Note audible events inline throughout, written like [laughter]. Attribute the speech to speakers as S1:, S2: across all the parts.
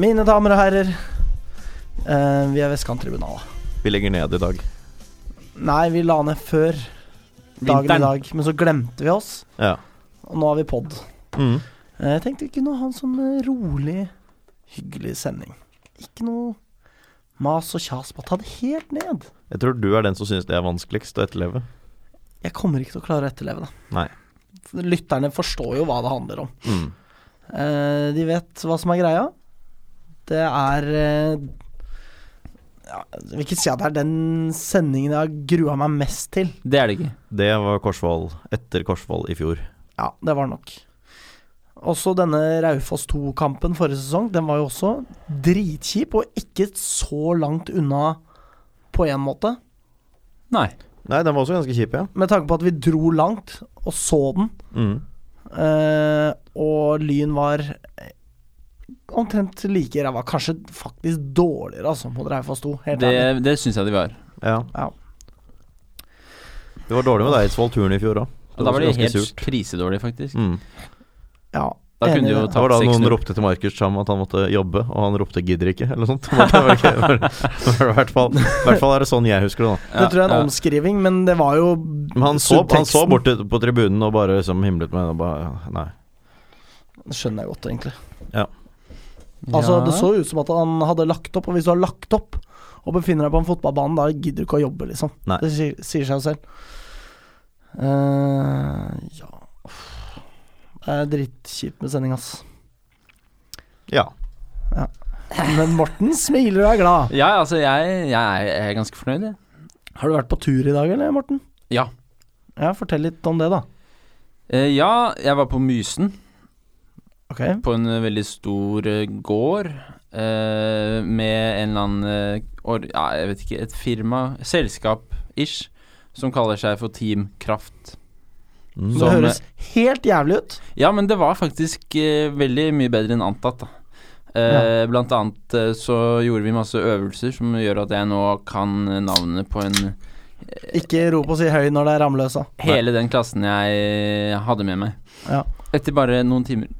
S1: Mine damer og herrer, eh, vi er Vestkanttribunalet.
S2: Vi legger ned i dag.
S1: Nei, vi la ned før dagen
S2: Vinteren.
S1: i dag, men så glemte vi oss,
S2: Ja.
S1: og nå har vi pod.
S2: Mm.
S1: Eh, Jeg tenkte vi kunne ha en sånn eh, rolig, hyggelig sending. Ikke noe mas og kjas, bare ta det helt ned.
S2: Jeg tror du er den som syns det er vanskeligst å etterleve.
S1: Jeg kommer ikke til å klare å etterleve det.
S2: Nei.
S1: Lytterne forstår jo hva det handler om.
S2: Mm.
S1: Eh, de vet hva som er greia. Det er eh, ja, Jeg vil ikke si at det er den sendingen jeg har grua meg mest til.
S3: Det er det ikke.
S2: Det var Korsvoll etter Korsvoll i fjor.
S1: Ja, det var nok. Også denne Raufoss 2-kampen forrige sesong, den var jo også dritkjip, og ikke så langt unna på én måte.
S3: Nei.
S2: Nei, den var også ganske kjip, ja.
S1: Med tanke på at vi dro langt, og så den,
S2: Mm.
S1: eh, og Lyn var omtrent like ræva, kanskje faktisk dårligere, altså, mot Raufoss 2. Helt
S3: Det,
S1: ærlig.
S3: det syns jeg de var.
S2: ja.
S1: Ja.
S2: Det var dårlig med deg i Eidsvoll-turen i fjor òg.
S3: Og da var de helt krisedårlige, faktisk.
S2: Mm.
S1: Ja,
S3: Da
S1: enig
S3: kunne
S1: i
S3: de jo
S1: det.
S2: Det var da
S3: tapt
S2: noen
S3: 6-0.
S2: ropte til Markus Cham at han måtte jobbe, og han ropte 'gidder ikke', eller noe sånt. [laughs] Det var ikke- det var I hvert fall- i hvert fall er det sånn jeg husker det, da.
S1: Det tror jeg er en omskriving, men det var jo
S2: Men han så, han så
S1: subteksten.
S2: bort ut på tribunen og bare liksom himlet med det. og Bare, nei.
S1: Det skjønner jeg godt, egentlig.
S3: Ja.
S1: Altså, Det så ut som at han hadde lagt opp, og hvis du har lagt opp og befinner deg på en fotballbane, da gidder du ikke å jobbe, liksom.
S2: Nei.
S1: Det sier, sier seg jo selv. Eh, ja Uff. Det er drittkjipt med sending, ass.
S2: Ja.
S1: Men Morten smiler og er glad.
S3: Ja, altså, jeg, jeg, er, jeg er ganske fornøyd, jeg.
S1: Har du vært på tur i dag, eller, Morten?
S3: Ja.
S1: Ja, Fortell litt om det, da.
S3: Eh, ja, jeg var på Mysen,
S1: Ok.
S3: på en eh, veldig stor eh, gård, eh, med en eller annen eh, or, Ja, jeg vet ikke, et firma, selskap-ish, som kaller seg for Team Kraft.
S2: Mm.
S1: det
S3: Som, eh,
S1: høres helt jævlig ut.
S3: Ja, men det var faktisk eh, veldig mye bedre enn antatt, da. Eh, Blant annet eh, så gjorde vi masse øvelser som gjør at jeg nå kan eh, navnet på en
S1: Ikke rop og si høy når det er ramløsa.
S3: hele den klassen jeg hadde med meg.
S1: Ja.
S3: Etter bare noen timer.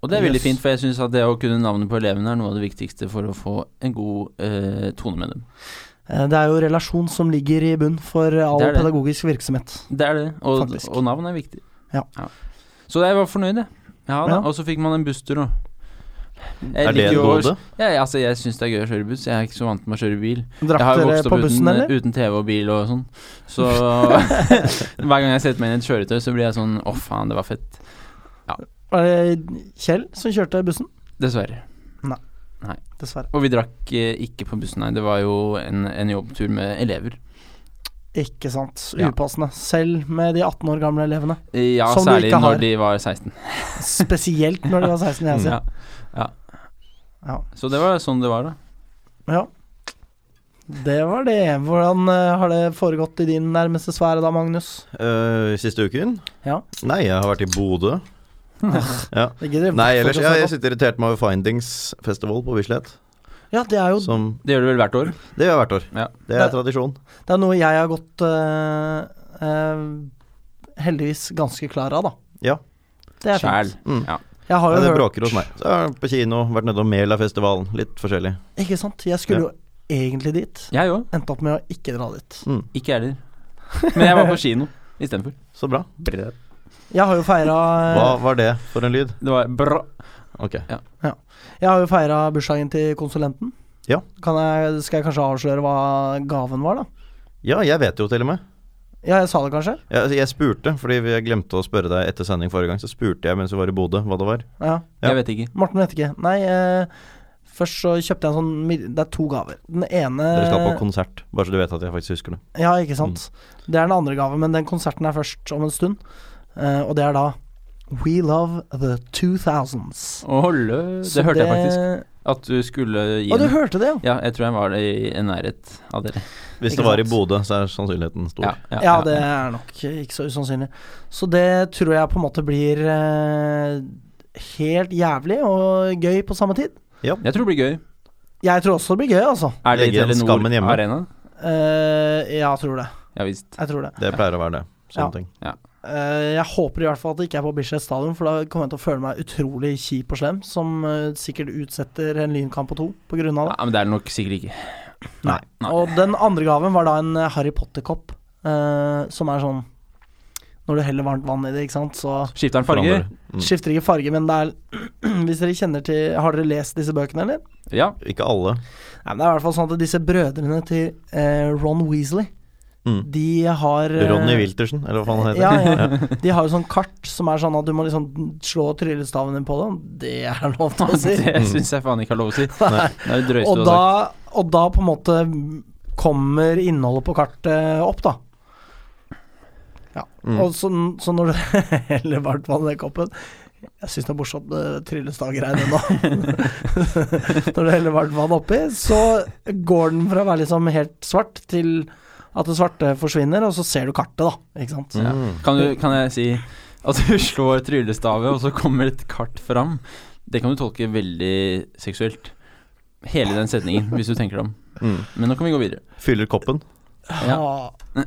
S3: Og det er veldig
S1: Yes.
S3: fint, for jeg syns at det å kunne navnet på elevene er noe av det viktigste for å få en god eh, tone med dem.
S1: Eh, Det er jo relasjon som ligger i bunn for all
S3: Det er det.
S1: pedagogisk virksomhet.
S3: Det er det, og,
S1: Faktisk.
S3: og navn er viktig.
S1: Ja.
S3: Så jeg var fornøyd, jeg. Ja, da.
S1: Ja.
S3: Og så fikk man en busstur òg.
S2: Er det et gode?
S3: Ja, jeg- altså, jeg syns det er gøy å kjøre buss. Jeg er ikke så vant med å kjøre bil. Jeg
S1: Drakk
S3: har jo
S1: dere
S3: vokst opp
S1: på bussen,
S3: uten, eh,
S1: eller?
S3: uten TV og bil og sånn. Så
S1: [laughs]
S3: [laughs] hver gang jeg setter meg inn i et kjøretøy, så blir jeg sånn Å, faen, det var fett.
S1: Var det Kjell som kjørte bussen?
S3: Dessverre.
S1: Dessverre.
S3: Og vi drakk eh, ikke på bussen, nei. Det var jo en, en jobbtur med elever.
S1: Ikke sant.
S3: Ja.
S1: Upassende. Selv med de 18 år gamle elevene.
S3: Eh, Ja,
S1: Som du
S3: særlig
S1: ikke har.
S3: når de var 16.
S1: Spesielt når de var 16,
S2: [laughs]
S1: jeg
S3: Ja.
S1: sier.
S3: ja.
S1: Ja.
S3: Så det var sånn det var, da.
S1: Ja. Det var det. Hvordan eh, har det foregått i din nærmeste sfære da, Magnus?
S2: Eh, siste uken?
S1: Ja.
S2: Nei, jeg har vært i Bodø. [laughs] ja.
S1: Det gidder jeg
S2: Nei,
S1: faktisk ikke å
S2: ellers jeg, jeg
S1: snakke om.
S2: sitter irritert meg over Findings festival på Bislett.
S1: Ja, det er jo
S2: Som
S3: Det gjør du vel hvert år?
S2: Det gjør jeg hvert år.
S3: Ja.
S2: Det er
S1: Det-
S2: tradisjon.
S1: Det er noe jeg har gått eh, eh, heldigvis ganske klar av, da.
S2: Ja.
S1: Det er
S3: Sjæl.
S1: fint.
S2: Mm.
S3: Ja.
S1: Jeg har
S2: Nei,
S1: jo
S2: det
S1: hørt
S2: bråker hos meg. Så jeg har vært på kino, vært nede og Melafestivalen. Litt forskjellig.
S1: Ikke sant? Jeg skulle jo egentlig dit.
S3: Jeg òg.
S1: Endte opp med å ikke dra dit.
S2: Mm.
S3: Ikke jeg heller. Men jeg
S1: [laughs]
S3: var på kino istedenfor.
S2: Så bra.
S1: Jeg har jo eh, feira
S2: Hva var det for en lyd?
S3: Det var bra.
S2: Ok.
S1: Jeg har jo feira bursdagen til konsulenten.
S2: Ja.
S1: Kan jeg, skal jeg kanskje avsløre hva gaven var, da?
S2: Ja, jeg vet jo til og med.
S1: Ja, jeg sa det kanskje?
S2: Jeg, jeg spurte, fordi vi- jeg glemte å spørre deg etter sending forrige gang, så spurte jeg mens vi var i Bodø hva det var.
S1: Ja.
S2: Ja.
S3: Jeg vet ikke.
S1: Morten vet ikke. Nei, eh, først så kjøpte jeg en sånn mil- Det er to gaver. Den ene
S2: Dere skal på Mm. konsert, bare så du vet at jeg faktisk husker det.
S1: Ja, ikke sant. Det er den andre gaven, men den konserten er først om en stund. Eh, og det er da We Love The 2000s.
S3: Å, lø.
S1: Så
S3: Det hørte jeg faktisk. At du skulle gi
S1: Å, du
S3: en
S1: hørte det, ja?
S3: Ja, jeg tror jeg var i en nærhet av dere.
S2: Hvis
S1: Ikke
S2: det var i
S1: sant?
S2: Bodø, så er sannsynligheten stor.
S1: Ja, det er nok ikke så usannsynlig. Så det tror jeg på en måte blir eh, helt jævlig og gøy på samme tid.
S3: Jeg tror det blir gøy.
S1: Jeg tror også det blir gøy, altså.
S3: Er det i
S2: Legge igjen
S3: Telenor
S2: skammen hjemme.
S3: Arena?
S1: Eh, ja, jeg tror det.
S3: Ja visst.
S1: Jeg tror det.
S2: Det pleier å være det. Sånne
S1: Ja.
S2: ting.
S1: Eh, jeg håper i hvert fall at det ikke er på Bislett stadion, for da kommer jeg til å føle meg utrolig kjip og slem, som eh, sikkert utsetter en lynkamp på to på grunn av det.
S3: Nei, men det er det nok sikkert ikke.
S1: Nei.
S3: Nei.
S1: Og den andre gaven var da en eh, Harry Potter-kopp, eh, som er sånn Når du heller varmt vann i det, ikke sant, så
S3: Skifter han farger?
S2: Mm.
S1: skifter ikke farge, men det er [clears throat] Hvis dere kjenner til Har dere lest disse bøkene, eller?
S3: Ja.
S2: Ikke alle.
S1: Nei, men det er i hvert fall sånn at disse brødrene til eh, Ron Weasley,
S2: Mm.
S1: de har eh,
S2: Ronny Wiltersen, eller hva faen han heter.
S1: Ja, [laughs] ja. De har jo sånn kart som er sånn at du må liksom slå tryllestaven din på det. Det er lov til å si.
S3: [laughs] Det syns jeg faen ikke er lov å si.
S2: Nei.
S3: Det er det drøyeste
S1: Og
S3: du har sagt.
S1: da, og da på en måte kommer innholdet på kartet opp, da. Ja.
S2: Mm.
S1: Og så, så når du [laughs] heller varmt vann i den koppen Jeg syns det er morsomt med tryllestav-greiene nå. [laughs] når du heller varmt vann oppi, så går den fra å være liksom helt svart til at det svarte forsvinner, og så ser du kartet, da. Ikke sant.
S3: Ja.
S2: Mm.
S3: Kan, du, kan jeg si at du [laughs] slår tryllestavet, og så kommer et kart fram? Det kan du tolke veldig seksuelt. Hele den setningen, hvis du tenker deg om.
S2: Mm.
S3: Men nå kan vi gå videre.
S2: Fyller koppen.
S3: Ja.
S1: Ja.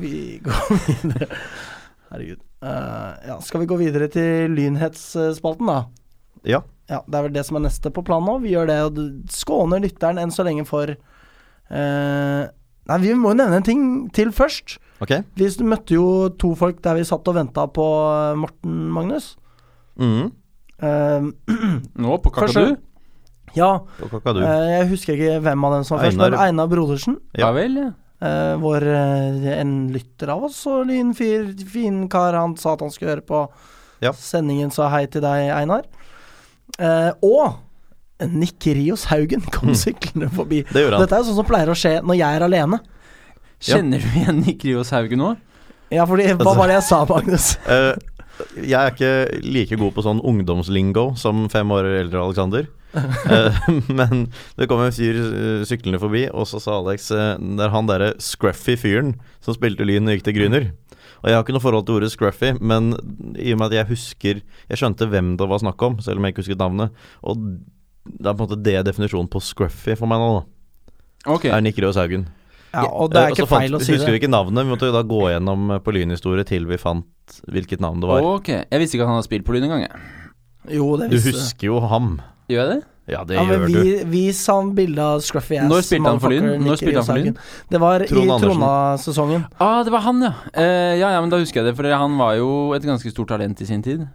S1: Vi går [laughs] videre. Herregud. Eh, ja, skal vi gå videre til lynhetsspalten, da?
S2: Ja.
S1: Ja, Det er vel det som er neste på planen nå. Vi gjør det og du- skåner lytteren enn så lenge for eh, Nei, vi må jo nevne en ting til først.
S2: Ok.
S1: Vi s- møtte jo to folk der vi satt og venta på eh, Morten Magnus.
S2: Mm.
S1: Eh,
S3: Nå på Kakadu.
S1: Første- ja,
S2: Og kakadu.
S1: eh, jeg husker ikke hvem av dem som var først,
S2: Einar-
S1: men Einar Brodersen.
S2: Ja.
S3: Ja vel, ja.
S1: Eh, hvor eh, en lytter av oss og lynfyr, fin kar, han sa at han skulle høre på
S2: Ja.
S1: sendingen, sa hei til deg, Einar. Eh, og Nick Rios Haugen
S2: Mm.
S1: kom syklende forbi.
S2: Det gjorde han.
S1: Dette er jo sånn som pleier å skje når jeg er alene.
S3: Kjenner du igjen Nick Rios Haugen nå?
S1: Ja, fordi
S2: Altså-
S1: hva var det jeg sa, Magnus?
S2: Eh, jeg er ikke like god på sånn ungdomslingo som fem år eldre Alexander. Eh, [laughs] men det kom en fyr eh, syklende forbi, og så sa Alex eh, Det er han derre scruffy fyren som spilte Lyn og gikk til Gryner. Og jeg har ikke noe forhold til ordet scruffy, men i og med at jeg husker Jeg skjønte hvem det var snakk om, selv om jeg ikke husket navnet. Og det er på en måte det er definisjonen på scruffy for meg nå, da.
S3: Ok.
S2: Er Nick Røs Haugen.
S1: Ja, og det
S2: Eh,
S1: er ikke
S2: så fant-
S1: feil å si
S2: Husker vi
S1: det.
S2: ikke navnet, vi måtte jo da gå gjennom eh, på Lynhistorie til vi fant hvilket navn det var.
S3: Ok, Jeg visste ikke at han hadde spilt på Lyn engang. jeg.
S1: Jo, det
S2: Du
S1: visste jeg.
S2: husker jo ham.
S3: Gjør jeg det?
S2: Ja, det
S1: Ja, men
S2: gjør du.
S1: vi, vi sa bilde av Scruffy Ass.
S3: Når spilte han for Lyn?
S1: motherfucker,
S3: Når
S1: Nick
S3: spilte han
S1: Rios
S3: for Lyn?
S1: Haugen. Det var
S2: Trond
S1: i
S2: Andersen.
S1: Trona-sesongen.
S3: Ah, det var han, ja. Eh, ja, ja, men Da husker jeg det, for han var jo et ganske stort talent i sin tid.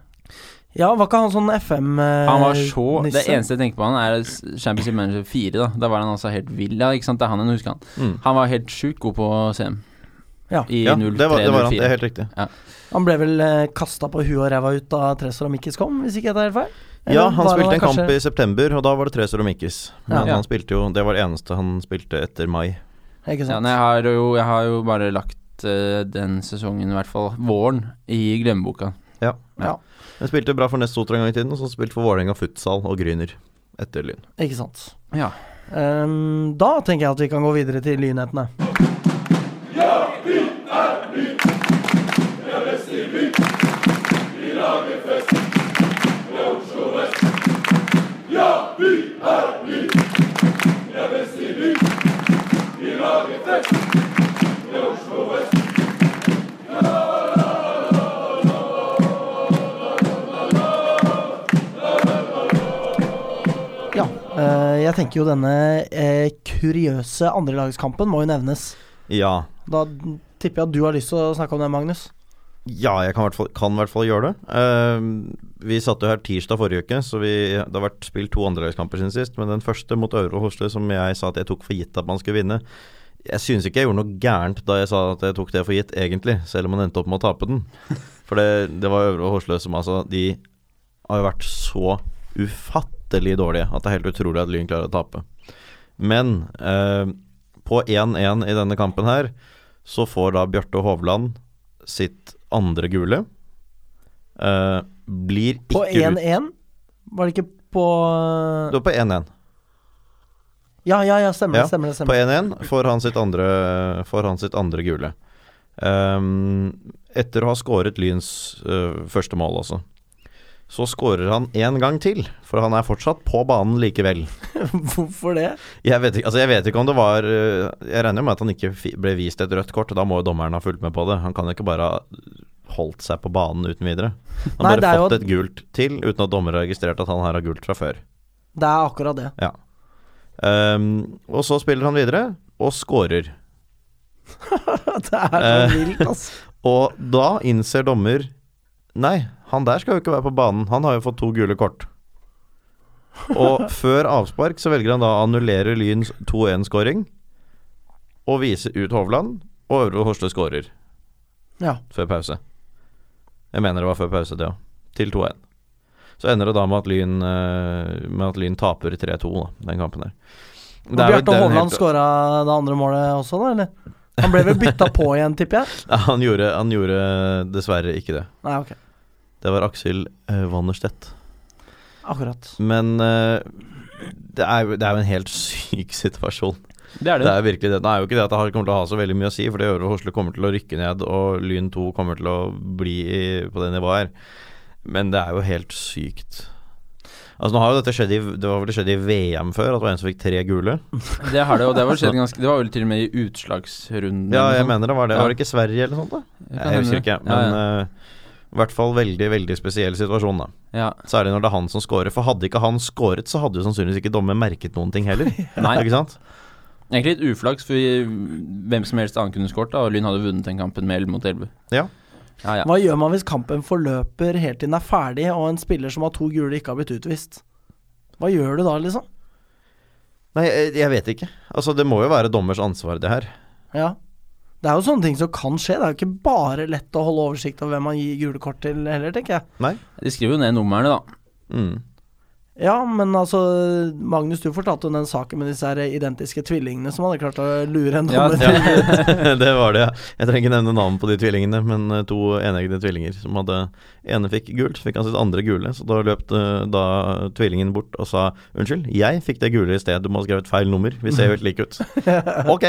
S1: Ja, var ikke han sånn FM-nisse?
S3: Han var så Det eneste jeg tenker på han, er Champions League Manager 4. da Da var han altså helt vill. Ja, ikke sant, det er han jeg husker han.
S2: Mm.
S3: Han var helt sjukt god på CM.
S1: Ja.
S3: I
S2: Ja,
S3: 03-04.
S2: det var, det var han. Det er helt riktig.
S1: Han ble vel kasta på huet og ræva ut da Tresor og Mikkis kom, hvis ikke jeg tar helt feil?
S2: Ja, han spilte en kamp i september, og da var det tre Soromikis. Men
S3: Ja.
S2: han spilte jo Det var det eneste han spilte etter mai.
S1: Ikke
S3: Ja,
S1: sant?
S3: nei, jeg, har jo, jeg har jo bare lagt eh, den sesongen, i hvert fall våren, i glemmeboka.
S2: Han spilte bra for Nest Sotra en gang i tiden, og så spilte for Vålerenga futsal og Gryner etter Lyn.
S1: Ikke sant.
S3: Ja.
S1: Ehm, da tenker jeg at vi kan gå videre til lynhetene. Ja. eh, jeg tenker jo denne eh, kuriøse andrelagskampen må jo nevnes.
S2: Ja.
S1: Da tipper jeg at du har lyst til å snakke om den, Magnus.
S2: Ja, jeg kan i hvert fall, kan i hvert fall gjøre det. Ehm, vi satt jo her tirsdag forrige uke, så vi, det har vært spilt to andrelagskamper siden sist. Men den første mot Aure Hosle, som jeg sa at jeg tok for gitt at man skulle vinne Jeg syns ikke jeg gjorde noe gærent da jeg sa at jeg tok det for gitt, egentlig. Selv om man endte opp med å tape den. For det, det var Aure Hosle som altså De har jo vært så ufattelig dårlige at det er helt utrolig at Lyn klarer å tape. Men ehm, på 1-1 i denne kampen her, så får da Bjarte Hovland sitt andre gule. Eh, blir ikke
S1: På
S2: ut-
S1: 1-1? Var det ikke på
S2: Det var på 1-1.
S1: Ja, ja, ja, stemmer det.
S2: Ja,
S1: stemmer det,
S2: På
S1: stemmer. det.
S2: 1-1 får han sitt andre, får han sitt andre gule. Ehm, etter å ha skåret Lyns eh, første mål, altså. Så skårer han én gang til, for han er fortsatt på banen likevel.
S1: [laughs] Hvorfor det?
S2: Jeg vet, ikke, altså jeg vet ikke om det var eh, Jeg regner jo med at han ikke fi- ble vist et rødt kort. Da må jo dommeren ha fulgt med på det. Han kan jo ikke bare ha holdt seg på banen uten videre. Han
S1: Nei, det
S2: har
S1: er
S2: bare
S1: jo-
S2: fått et gult til uten at dommer har registrert at han her har gult fra før.
S1: Det er akkurat det. [laughs]
S2: Ehm, og så spiller han videre, og scorer.
S1: det er så
S2: Eh.
S1: vilt, altså.
S2: Og da innser dommer Nei, han der skal jo ikke være på banen. Han har jo fått to gule kort. Og før avspark så velger han da å annullere Lyns 2-1-skåring og vise ut Hovland, og Øvre Horsle skårer [laughs]
S1: Ja.
S2: før pause. Jeg mener det var før pause, det òg. Til 2-1. Så ender det da med at Lyn, eh, med at lyn taper 3-2, da, den kampen der.
S1: Og
S2: Det er jo- det
S1: Bjarte
S2: er en
S1: Hovland
S2: helt-
S1: skåra det andre målet også, da, eller? Han ble vel bytta på igjen, tipper jeg?
S2: Ja, han, gjorde, han gjorde dessverre ikke det.
S1: Nei, ok.
S2: Det var Aksel eh, Wannerstedt.
S1: Akkurat.
S2: Men eh, det, er, jo- det er jo en helt syk situasjon.
S3: Det er
S2: Det
S3: det.
S2: er virkelig det. Nå er jo ikke det at det har- kommer til å ha så veldig mye å si, for det Øre Hosle kommer til å rykke ned, og Lyn 2 kommer til å bli i, på det nivået her. Men det er jo helt sykt. Altså nå har jo dette skjedd i, Det var vel skjedd i VM før, at det var en som fikk tre gule.
S3: Det har det,
S2: [laughs]
S3: og det var, skjedd ganske, det var vel til og med i utslagsrunden.
S2: Ja, jeg
S3: eller noe
S2: mener det var det.
S3: Ja.
S2: Var det ikke Sverige eller sånt, da?
S3: sånt. Det kan
S2: Jeg husker
S3: hende.
S2: ikke,
S3: Ja,
S2: men eh, i hvert fall veldig, veldig spesiell situasjon, da.
S3: ja.
S2: Særlig når det er han som scorer, for hadde ikke han scoret, så hadde jo sannsynligvis ikke dommer merket noen ting heller.
S3: ja. Nei,
S2: Ikke sant?
S3: egentlig litt uflaks, for vi- hvem som helst annen kunne skåret, da, og Lyn hadde vunnet den kampen med 11 mot 11.
S2: Ja.
S3: Ja, ja.
S1: Hva gjør man hvis kampen forløper helt til den er ferdig, og en spiller som har to gule, ikke har blitt utvist? Hva gjør du da, liksom?
S2: Nei, eh, jeg, jeg vet ikke. Altså, det må jo være dommers ansvar, det her.
S1: Ja. Det er jo sånne ting som kan skje. Det er jo ikke bare lett å holde oversikt over hvem man gir gule kort til heller, tenker jeg.
S3: De skriver jo ned numrene, da.
S2: Mm.
S1: Ja, men altså Magnus, du fortalte jo den saken med disse her identiske tvillingene som hadde klart å lure en
S3: Ja,
S1: dommer.
S2: Ja, [laughs] det var det. ja. Jeg trenger ikke nevne navn på de tvillingene, men eh, to eneggede tvillinger som hadde Ene fikk gult, så fikk han sitt andre gule, så da løp eh, da tvillingen bort og sa unnskyld, jeg fikk det gule i sted, du må ha skrevet feil nummer, vi ser jo helt like ut. Ok.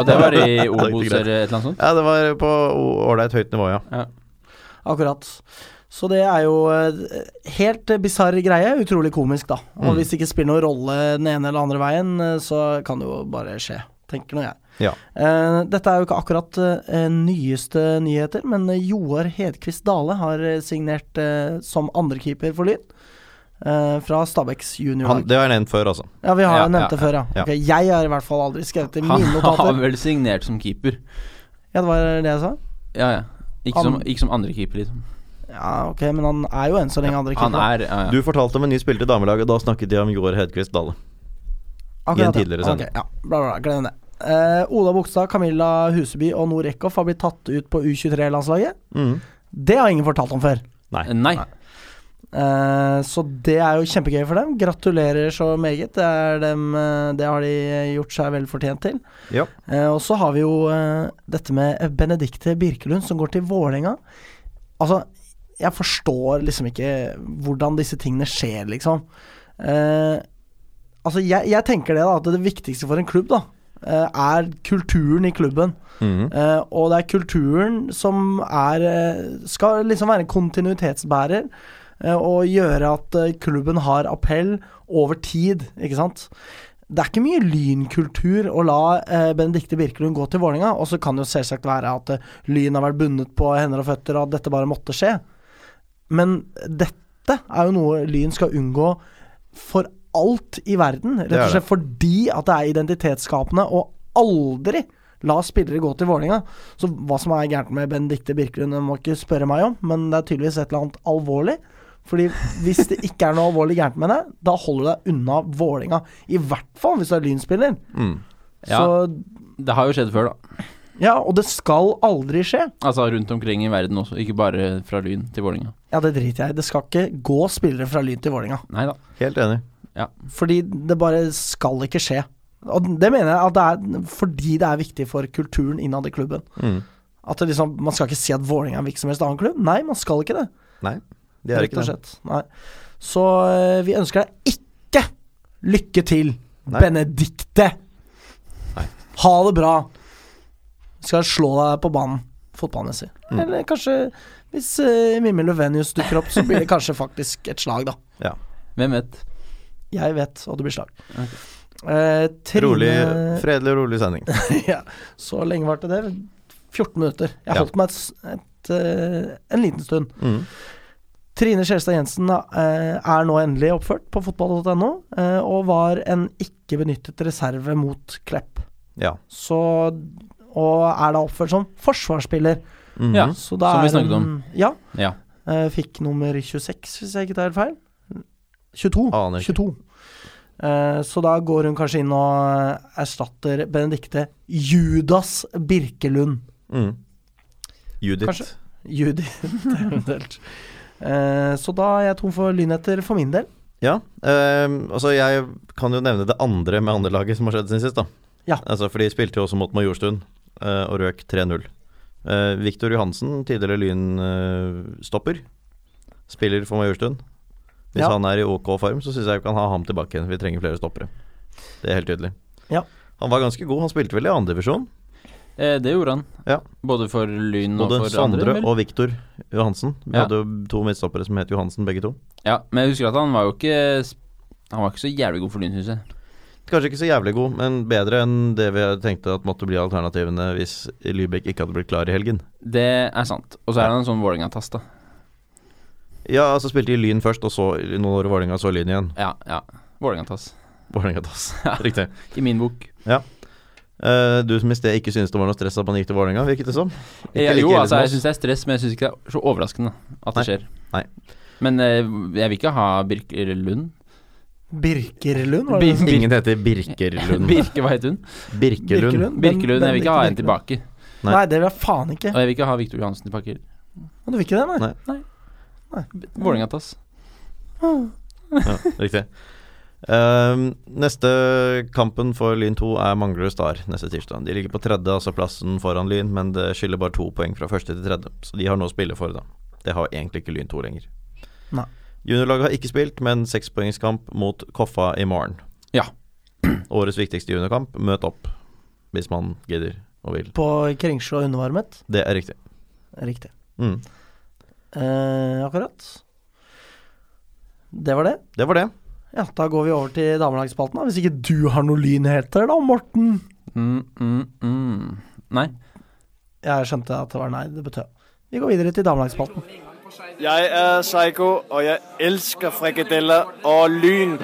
S3: Og det
S2: [laughs]
S3: var i
S2: er ikke
S3: Obos
S2: greit.
S3: eller et eller annet sånt.
S2: Ja, det var på å- ålreit høyt nivå, ja.
S1: Akkurat. Så det er jo eh, helt eh, bisarr greie. Utrolig komisk, da. Og
S2: Mm.
S1: hvis det ikke spiller noen rolle den ene eller andre veien, eh, så kan det jo bare skje. Tenker nå jeg.
S2: Ja.
S1: Eh, dette er jo ikke akkurat eh, nyeste nyheter, men eh, Joar Hedquist Dale har eh, signert eh, som andrekeeper for Lyn. eh, fra Stabæks
S2: Han,
S1: juniorlag.
S2: det har jeg nevnt før, altså.
S1: Ja, vi har
S3: Ja,
S1: jo nevnt
S3: ja,
S1: det før, ja.
S2: ja.
S1: Ok, jeg har i hvert fall aldri skrevet det i mine
S3: [laughs] Han har
S1: notater.
S3: vel signert som keeper.
S1: Ja, det var det jeg sa?
S3: Ja, ja. Ikke
S1: Han-
S3: som, ikke som andre keeper, liksom.
S1: Ja, ok, men han er jo enn så lenge
S3: Han
S1: andrekeeper.
S3: er ja, ja.
S2: Du fortalte om en ny spiller til damelaget, da snakket de om Joar Hedquist Dale.
S1: Akkurat,
S2: I en
S1: ja.
S2: tidligere sending.
S1: Ok, ja, bla, bla, bla, glem det. Eh, Ola Bogstad, Camilla Huseby og Nor Eckhoff har blitt tatt ut på U23-landslaget.
S2: Mm.
S1: Det har ingen fortalt om før,
S3: Nei.
S1: Eh, så det er jo kjempegøy for dem. Gratulerer så meget. Det, er dem, eh, det har de gjort seg vel fortjent til.
S2: Ja.
S1: Eh, og så har vi jo eh, dette med Benedicte Birkelund som går til Vålerenga. Altså, jeg forstår liksom ikke hvordan disse tingene skjer, liksom. Eh, altså, jeg, jeg tenker det, da, at det viktigste for en klubb, da, eh, er kulturen i klubben.
S2: Mm.
S1: Eh, og det er kulturen som er eh, Skal liksom være en kontinuitetsbærer. eh, og gjøre at eh, klubben har appell over tid, ikke sant. Det er ikke mye lynkultur å la eh, Benedicte Birkelund gå til Vålerenga. Og så kan det jo selvsagt være at eh, Lyn har vært bundet på hender og føtter, og at dette bare måtte skje. Men dette er jo noe Lyn skal unngå for alt i verden. Rett
S2: Det
S1: og
S2: er det.
S1: slett fordi at det er identitetsskapende å aldri la spillere gå til Vålerenga. Så hva som er gærent med Benedicte Birkelund, det må ikke spørre meg om, men det er tydeligvis et eller annet alvorlig. Fordi hvis det ikke er noe alvorlig gærent med det, da holder du deg unna Vålerenga. I hvert fall hvis du er Lyn-spiller.
S2: Mm.
S3: Ja.
S1: Så
S3: Det har jo skjedd før, da.
S1: ja, og det skal aldri skje.
S3: Altså rundt omkring i verden også, ikke bare fra Lyn til Vålerenga.
S1: Ja, det driter jeg i. Det skal ikke gå spillere fra Lyn til Vålerenga.
S3: Nei da.
S2: Helt enig.
S1: Fordi det bare skal ikke skje. Og det mener jeg at det er fordi det er viktig for kulturen innad i klubben.
S2: Mm.
S1: At det liksom, Man skal ikke si at Vålerenga er en hvilken som helst annen klubb. Nei, man skal ikke det.
S2: Det er
S1: rett og
S2: ikke det.
S1: slett. Nei. Så eh, vi ønsker deg ikke lykke til,
S2: Nei.
S1: Benedikte.
S2: Nei.
S1: Ha det bra. Skal slå deg på banen fotballmessig.
S2: Mm.
S1: Eller kanskje hvis uh, Mimmi Lovenius dukker opp, så
S2: [laughs]
S1: blir det kanskje faktisk et slag, da.
S3: Hvem vet?
S1: Jeg vet, og det blir slag.
S3: Ok.
S1: Eh, Trine [laughs]
S2: Rolig, fredelig og rolig sending.
S1: ja, Så lenge varte det. 14 minutter. Jeg
S2: Ja.
S1: holdt meg et, s- et, eh, en liten stund.
S2: Mm.
S1: Trine Skjelstad Jensen eh, er nå endelig oppført på fotball.no, eh, og var en ikke benyttet reserve mot Klepp.
S2: Ja.
S1: Så Og er da oppført som forsvarsspiller.
S2: Mhm.
S3: Ja.
S1: Så da
S3: Som vi
S1: er
S3: snakket om.
S1: hun- Ja.
S3: Ja.
S1: Eh, fikk nummer 26, hvis jeg ikke tar helt feil. 22.
S2: Aner ikke.
S1: 22. Eh, så da går hun kanskje inn og eh, erstatter Benedikte Judas Birkelund.
S2: Mm. Judith.
S1: Kanskje. Judith, [laughs] eventuelt. Eh, så da er jeg tom for lynheter for min del.
S2: Ja. ehm, altså, jeg kan jo nevne det andre med andre laget som har skjedd siden sist, da.
S1: Ja.
S2: Altså, for de spilte jo også mot Majorstuen eh, og røk 3-0. Eh, Victor Johansen, tidligere Lyn-stopper, spiller for Majorstuen. Hvis
S1: Ja.
S2: han er i OK form, så syns jeg vi kan ha ham tilbake igjen. Vi trenger flere stoppere. Det er helt tydelig.
S1: Ja.
S2: Han var ganske god. Han spilte vel i andredivisjon.
S3: Eh, det gjorde han.
S2: Ja.
S3: Både for Lyn og
S2: Både
S3: for andre.
S2: Sondre
S3: vel?
S2: og Victor Johansen. Vi
S3: Ja.
S2: hadde jo to midtstoppere som het Johansen, begge to.
S3: Ja, men jeg husker at han var jo ikke sp- Han var ikke så jævlig god for Lyn, syns jeg.
S2: Kanskje ikke så jævlig god, men bedre enn det vi tenkte at måtte bli alternativene hvis Lybekk ikke hadde blitt klar i helgen.
S3: Det er sant. Og så er han en sånn Vålerenga-tass, da.
S2: Ja, altså spilte de Lyn først, og så noen år i Vålerenga, så Lyn igjen. [laughs]
S3: Ja, ja. Vålerenga-tass.
S2: Vålerenga tass. Riktig.
S3: I min bok.
S2: Eh, du som i sted ikke syntes det var noe stress at man gikk til Vålerenga, virket det som? Ikke
S3: Ja,
S2: like
S3: jo,
S2: ille
S3: altså,
S2: som
S3: jeg
S2: oss.
S3: syns det er stress, men jeg syns ikke det er så overraskende at det
S2: Nei.
S3: skjer.
S2: Nei.
S3: Men eh, jeg vil ikke ha Birker Lund.
S1: Birkerlund, var det det?
S3: Bir-
S2: Ingen heter
S3: [laughs]
S2: Birkerlund.
S3: Birke, hva heter hun?
S2: Birkelund.
S3: Birkelund. Jeg vil ikke ha henne tilbake.
S1: Nei.
S2: Nei.
S1: Nei, det vil jeg faen ikke.
S3: Og jeg vil ikke ha Victor Johansen tilbake.
S1: Men du vil ikke det, nei?
S2: Nei.
S3: Vålerenga-tass.
S2: Ja, riktig. Ehm, neste kampen for Lyn 2 er Manglerud Star neste tirsdag. De ligger på tredje, altså plassen foran Lyn, men det skiller bare to poeng fra første til tredje. Så de har noe å spille for, da. Det har egentlig ikke Lyn 2 lenger.
S1: Nei.
S2: Juniorlaget har ikke spilt, men sekspoengskamp mot Koffa i morgen.
S3: Ja.
S2: [clears throat] Årets viktigste juniorkamp. Møt opp hvis man gidder og vil.
S1: På Kringsjå undervarmet.
S2: Det er riktig.
S1: Riktig.
S2: Mm.
S1: Eh, akkurat. Det var det.
S2: Det var det.
S1: Ja, da går vi over til damelagsspalten. da. Hvis ikke du har noe lynheter da, Morten.
S3: Mm, mm, mm. Nei.
S1: Jeg skjønte at det var nei, det betød. Vi går videre til damelagsspalten.
S4: Jeg er Psycho, og jeg elsker frikadeller og lyn.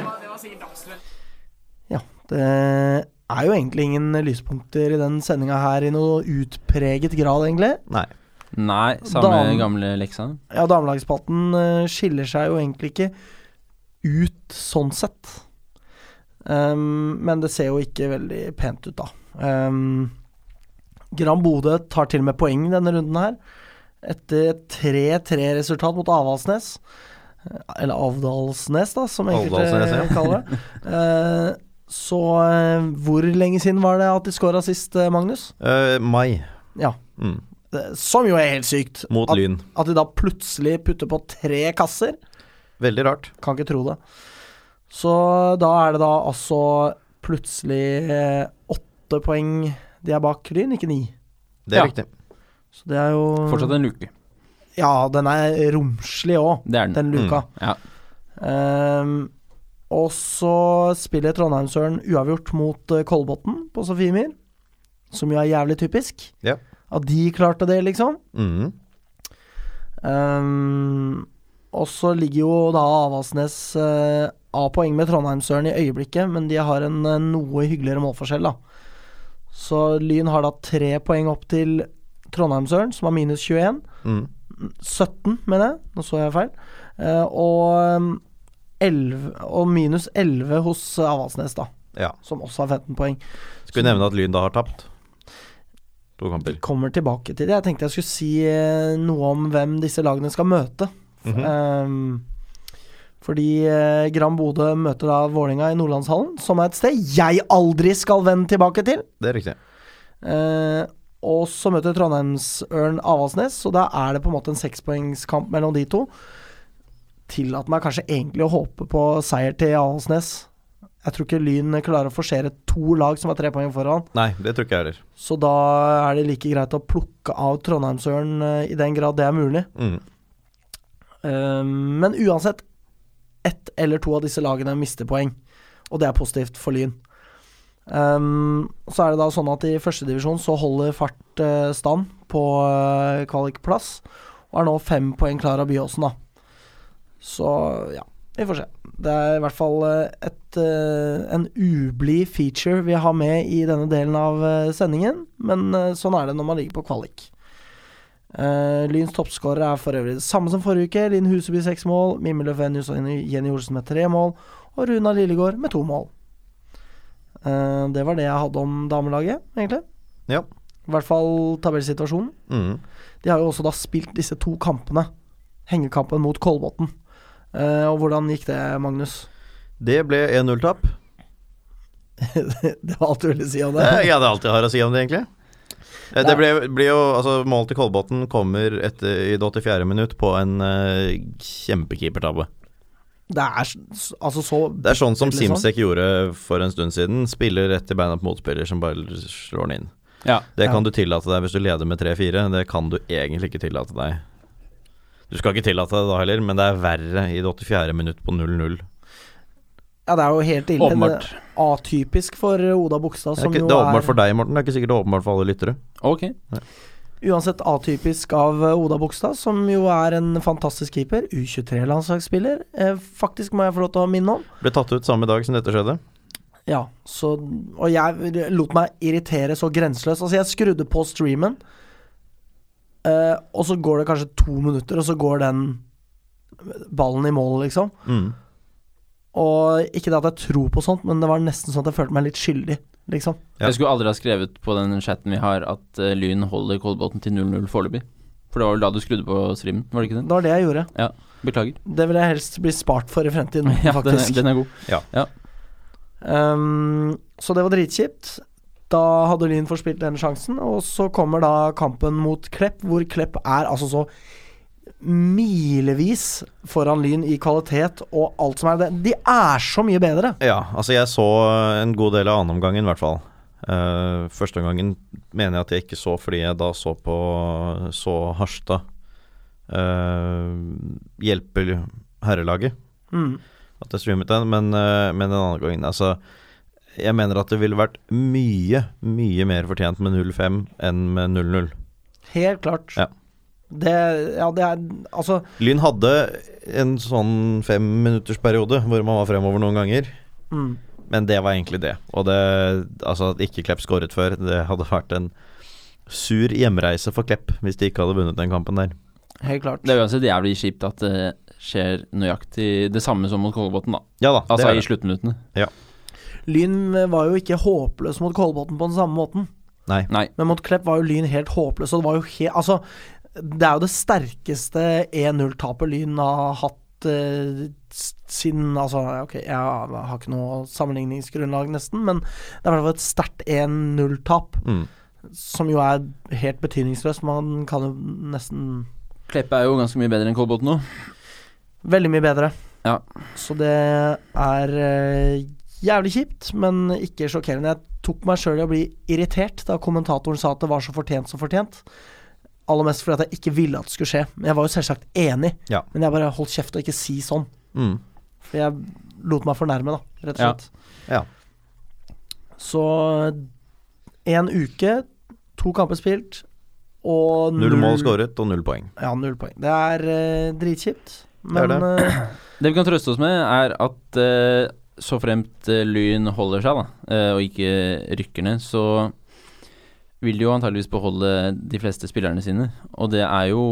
S1: Ja, det er jo egentlig ingen lyspunkter i den sendinga her i noe utpreget grad, egentlig.
S2: Nei.
S3: Nei, samme
S1: Dan-
S3: gamle leksa.
S1: Ja, damelagsspalten eh, skiller seg jo egentlig ikke ut sånn sett. Ehm, men det ser jo ikke veldig pent ut, da. Ehm, Gran Bodø tar til og med poeng denne runden her. Etter 3-3-resultat mot Avaldsnes. Eh, Eller Avdalsnes, da, som enkelte
S2: Avdalsnes, ja.
S1: kaller
S2: [laughs]
S1: det. Eh, så eh, hvor lenge siden var det at de skåra sist, eh, Magnus?
S2: Eh, mai.
S1: Ja.
S2: Mm.
S1: Eh, Som jo er helt sykt.
S2: Mot
S1: at,
S2: Lyn.
S1: at de da plutselig putter på tre kasser.
S2: Veldig rart.
S1: Kan ikke tro det. Så da er det da altså plutselig eh, åtte poeng de er bak Lyn, ikke ni.
S2: Det er
S3: Ja.
S2: riktig.
S1: Så det er jo
S3: Fortsatt en luke.
S1: Ja, den er romslig òg,
S3: Det er den.
S1: den luka.
S3: Ja.
S1: Ehm, og så spiller Trondheimsøren uavgjort mot eh, Kolbotn på Sofiemyr, som jo er jævlig typisk.
S2: Ja.
S1: At de klarte det, liksom.
S2: Mm.
S1: Ehm, og så ligger jo da Avaldsnes eh, av poeng med Trondheimsøren i øyeblikket, men de har en eh, noe hyggeligere målforskjell, da. Så Lyn har da tre poeng opp til Trondheimsøren, som har minus 21.
S2: Mm.
S1: 17, mener jeg. Nå så jeg feil. Eh, og, um, 11, og minus 11 hos eh, Avaldsnes, da.
S2: Ja.
S1: Som også har 15 poeng.
S2: Skal vi nevne at Lyn da har tapt? To kamper.
S1: Kommer tilbake til det. Jeg tenkte jeg skulle si eh, noe om hvem disse lagene skal møte.
S2: Mhm.
S1: Ehm, fordi eh, Gran Bodø møter da Vålinga i Nordlandshallen, som er et sted jeg aldri skal vende tilbake til.
S2: Det er riktig.
S1: Eh, og så møter Trondheimsørn Avaldsnes, så da er det på en måte en sekspoengskamp mellom de to. Tillat meg kanskje egentlig å håpe på seier til Avaldsnes. Jeg tror ikke Lyn klarer å forsere to lag som er tre poeng foran.
S2: Nei, det tror ikke jeg heller.
S1: Så da er det like greit å plukke av Trondheimsøren eh, i den grad det er mulig.
S2: Mm.
S1: Eh, Men uansett, ett eller to av disse lagene mister poeng, og det er positivt for Lyn. Ehm, Um, så er det da sånn at i førstedivisjon så holder fart eh, stand på eh, kvalikplass. Og er nå fem poeng klar av Byåsen, da. Så ja, vi får se. Det er i hvert fall eh, et, eh, en ublid feature vi har med i denne delen av eh, sendingen, men eh, sånn er det når man ligger på kvalik. Eh, Lyns toppskårer er for øvrig det samme som forrige uke. Linn Huseby seks mål, Mimmi Løfvenius og Jenny Jenny Olsen med tre mål, og Runa Lillegård med to mål. Eh, det var det jeg hadde om damelaget, egentlig.
S2: Ja.
S1: I hvert fall tabellsituasjonen.
S2: Mm.
S1: De har jo også da spilt disse to kampene. Hengekampen mot Kolbotn. Eh, og hvordan gikk det, Magnus?
S2: Det ble 1-0-tap.
S1: det var alt du ville si om det?
S2: Eh, Ja, det er alt jeg har å si om det, egentlig. Eh, Det ble, ble jo, altså Målet til Kolbotn kommer etter, i det 84. minutt på en uh, kjempekeepertabbe.
S1: Det er s- altså så
S2: Det er sånn som
S1: Litt sånn.
S2: Simsek gjorde for en stund siden. Spiller rett i beina på motspiller som bare slår den inn.
S3: Ja.
S2: Det
S1: Ja.
S2: kan du tillate deg hvis du leder med 3-4. Det kan du egentlig ikke tillate deg. Du skal ikke tillate deg det da heller, men det er verre i det 84. minutt på 0-0.
S1: Ja, det er jo helt ille. men
S3: Åpenbart.
S1: det er Atypisk for Oda Bogstad,
S2: Det er,
S1: som
S2: ikke,
S1: jo
S2: det er åpenbart
S1: er
S2: for deg, Morten. Det er ikke sikkert det er åpenbart for alle lyttere.
S3: Ok.
S1: Uansett atypisk av eh, Oda Bogstad, som jo er en fantastisk keeper. U23-landslagsspiller. Eh, faktisk må jeg få lov til å minne om.
S2: Ble tatt ut samme dag som dette skjedde.
S1: Ja, så Og jeg lot meg irritere så grenseløst. Altså, jeg skrudde på streamen, eh, og så går det kanskje to minutter, og så går den ballen i mål, liksom.
S2: Mm.
S1: Og ikke det at jeg tror på sånt, men det var nesten sånn at jeg følte meg litt skyldig, liksom.
S2: Ja.
S3: Jeg skulle aldri ha skrevet på den chatten vi har at eh, Lyn holder Kolbotn til 0-0 foreløpig. For det var vel da du skrudde på streamen, var det ikke det?
S1: Det var det jeg gjorde.
S3: Beklager.
S1: Det vil jeg helst bli spart for i fremtiden,
S3: [laughs] Ja, den,
S1: faktisk.
S3: er- den er god.
S1: Ehm, så det var dritkjipt. Da hadde Lyn forspilt den sjansen, og så kommer da kampen mot Klepp, hvor Klepp er altså så milevis foran Lyn i kvalitet og alt som er det. De er så mye bedre!
S2: Ja, altså jeg så en god del av annenomgangen i hvert fall. Eh, første omgangen mener jeg at jeg ikke så fordi jeg da så på så Harstad eh, hjelper herrelaget.
S1: Mm.
S2: At jeg streamet den, men, eh, men den andre gangen Altså, jeg mener at det ville vært mye, mye mer fortjent med 0-5 enn med 0-0.
S1: Helt klart.
S2: Ja.
S1: Det Ja, det er Altså,
S2: Lyn hadde en sånn femminuttersperiode hvor man var fremover noen ganger.
S1: mm,
S2: Men det var egentlig det. Og det, altså at ikke Klepp skåret før, det hadde vært en sur hjemreise for Klepp hvis de ikke hadde vunnet den kampen der.
S1: helt klart.
S3: Det er uansett jævlig kjipt at det skjer nøyaktig det samme som mot Kolbotn, da.
S2: Ja da, det
S3: Altså i
S2: er det.
S3: sluttminuttene.
S1: Lyn var jo ikke håpløs mot Kolbotn på den samme måten.
S2: Nei.
S3: Nei.
S1: Men mot Klepp var jo Lyn helt håpløs, og det var jo he... Altså, det er jo det sterkeste 1-0-tapet Lyn har hatt eh, s- siden Altså, ok, jeg har ikke noe sammenligningsgrunnlag, nesten, men det er i hvert fall et sterkt 1-0-tap,
S2: Mm.
S1: som jo er helt betydningsløst. Man kan jo nesten
S3: Kleppe er jo ganske mye bedre enn Kolbotn nå.
S1: Veldig mye bedre.
S3: Ja.
S1: Så det er eh, jævlig kjipt, men ikke sjokkerende. Jeg tok meg sjøl i å bli irritert da kommentatoren sa at det var så fortjent så fortjent. Aller mest fordi at jeg ikke ville at det skulle skje. Men jeg var jo selvsagt enig,
S2: Ja.
S1: men jeg bare holdt kjeft og ikke si sånn.
S2: Mm.
S1: For jeg lot meg fornærme, da, rett og
S3: Ja.
S1: slett.
S2: Ja.
S1: Så én uke, to kamper spilt og
S2: Null mål skåret og null poeng.
S1: Ja, null poeng. Det er eh, dritkjipt,
S2: er
S1: men eh,
S3: Det vi kan trøste oss med, er at eh, så fremt eh, Lyn holder seg, da, eh, og ikke rykker ned, så vil de jo antageligvis beholde de fleste spillerne sine. Og det er jo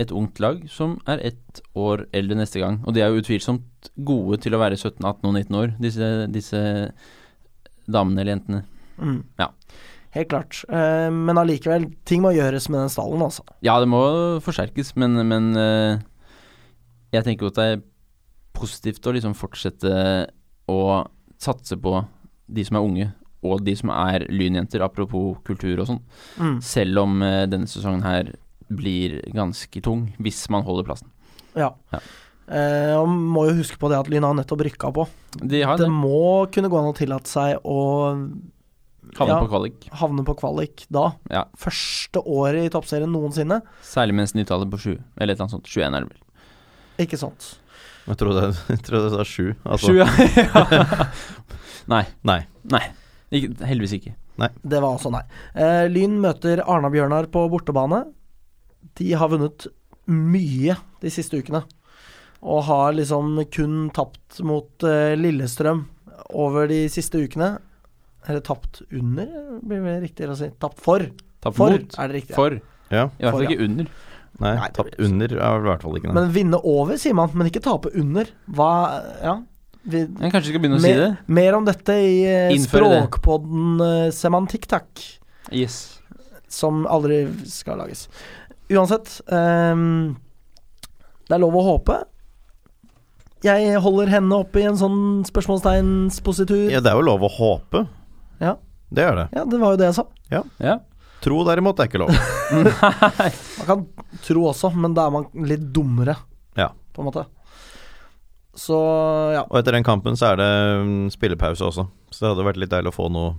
S3: et ungt lag som er ett år eldre neste gang. Og de er jo utvilsomt gode til å være 17, 18 og 19 år, disse, disse damene eller jentene.
S1: Mm.
S3: Ja.
S1: Helt klart. Eh, men allikevel, ting må gjøres med den stallen, altså.
S3: Ja, det må forsterkes, men, men eh, jeg tenker jo at det er positivt å liksom fortsette å satse på de som er unge, og de som er lynjenter, apropos kultur og sånn,
S1: Mm.
S3: selv om eh, denne sesongen her blir ganske tung, hvis man holder plassen.
S1: Ja.
S3: Ja.
S1: Eh, og må jo huske på det at Lyn har nettopp rykka på.
S3: De har
S1: Det
S3: det.
S1: må kunne gå an å tillate seg å
S3: Havner
S1: ja.
S3: på kvalik.
S1: havne på kvalik da.
S3: Ja.
S1: Første året i toppserien noensinne.
S3: Særlig mens nyttallet på 7, eller et eller annet sånt. 21 er det vel.
S1: Ikke sant.
S2: Jeg trodde [laughs] jeg trodde jeg sa sju. Altså,
S3: Sju, [laughs] ja. Nei.
S2: Nei.
S3: Ikke, heldigvis ikke.
S2: Nei.
S1: Det var også nei. Eh, Lyn møter Arna-Bjørnar på bortebane. De har vunnet mye de siste ukene. Og har liksom kun tapt mot eh, Lillestrøm over de siste ukene. Eller tapt under, blir det riktigere å si. Tapt for.
S3: Tapp
S1: For
S3: mot.
S1: er det riktig.
S3: For.
S2: Ja.
S3: I
S1: For,
S3: hvert fall
S1: ja.
S3: ikke under.
S1: Nei,
S2: Nei,
S1: det
S2: tapt
S1: blir-
S2: under er vel i hvert fall ikke det.
S1: Men vinne over, sier man, men ikke tape under. Hva Ja. Vi,
S3: Jeg kanskje skal begynne å si
S1: mer,
S3: det?
S1: mer om dette i eh,
S3: Innføre det.
S1: Språkpodden eh, Semantikk, takk.
S3: Yes.
S1: Som aldri skal lages. Uansett ehm, Det er lov å håpe. Jeg holder hendene oppe i en sånn spørsmålstegnspositur.
S2: Ja, det er jo lov å håpe.
S1: Ja.
S2: Det er det.
S1: Ja, det var jo det jeg sa.
S3: Ja.
S2: Tro derimot er ikke lov.
S1: Man kan tro også, men da er man litt dummere,
S2: Ja.
S1: på en måte. Så ja.
S2: Og etter den kampen så er det mm, spillepause også, så det hadde vært litt deilig å få noe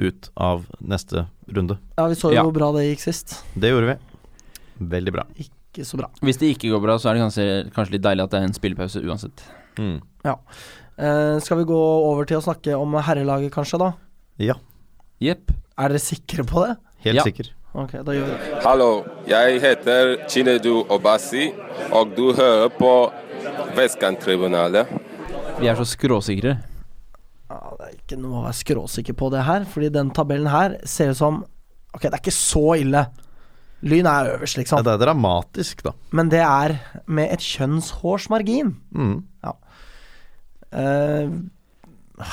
S2: ut av neste runde.
S1: ja vi så jo
S3: Ja.
S1: hvor bra det gikk sist.
S2: Det gjorde vi. Veldig bra.
S1: Ikke så bra.
S3: Hvis det ikke går bra, så er det kanskje, kanskje litt deilig at det er en spillepause uansett.
S2: Mm.
S1: Eh, skal vi gå over til å snakke om herrelaget, kanskje, da?
S2: Ja,
S3: Jepp.
S1: Er dere sikre på det?
S2: helt
S3: Ja.
S2: sikker.
S1: Ok, da gjør vi det.
S5: Hallo, jeg heter Chinedu Obasi, og du hører på Vestkanttribunalet.
S3: Vi er så skråsikre.
S1: Ja, det er ikke noe å være skråsikker på det her, fordi den tabellen her ser ut som Ok, det er ikke så ille. Lyn er øverst,
S2: Ja,
S1: liksom.
S2: det er dramatisk, da.
S1: Men det er med et kjønnshårs margin.
S2: Mm.
S1: Eh,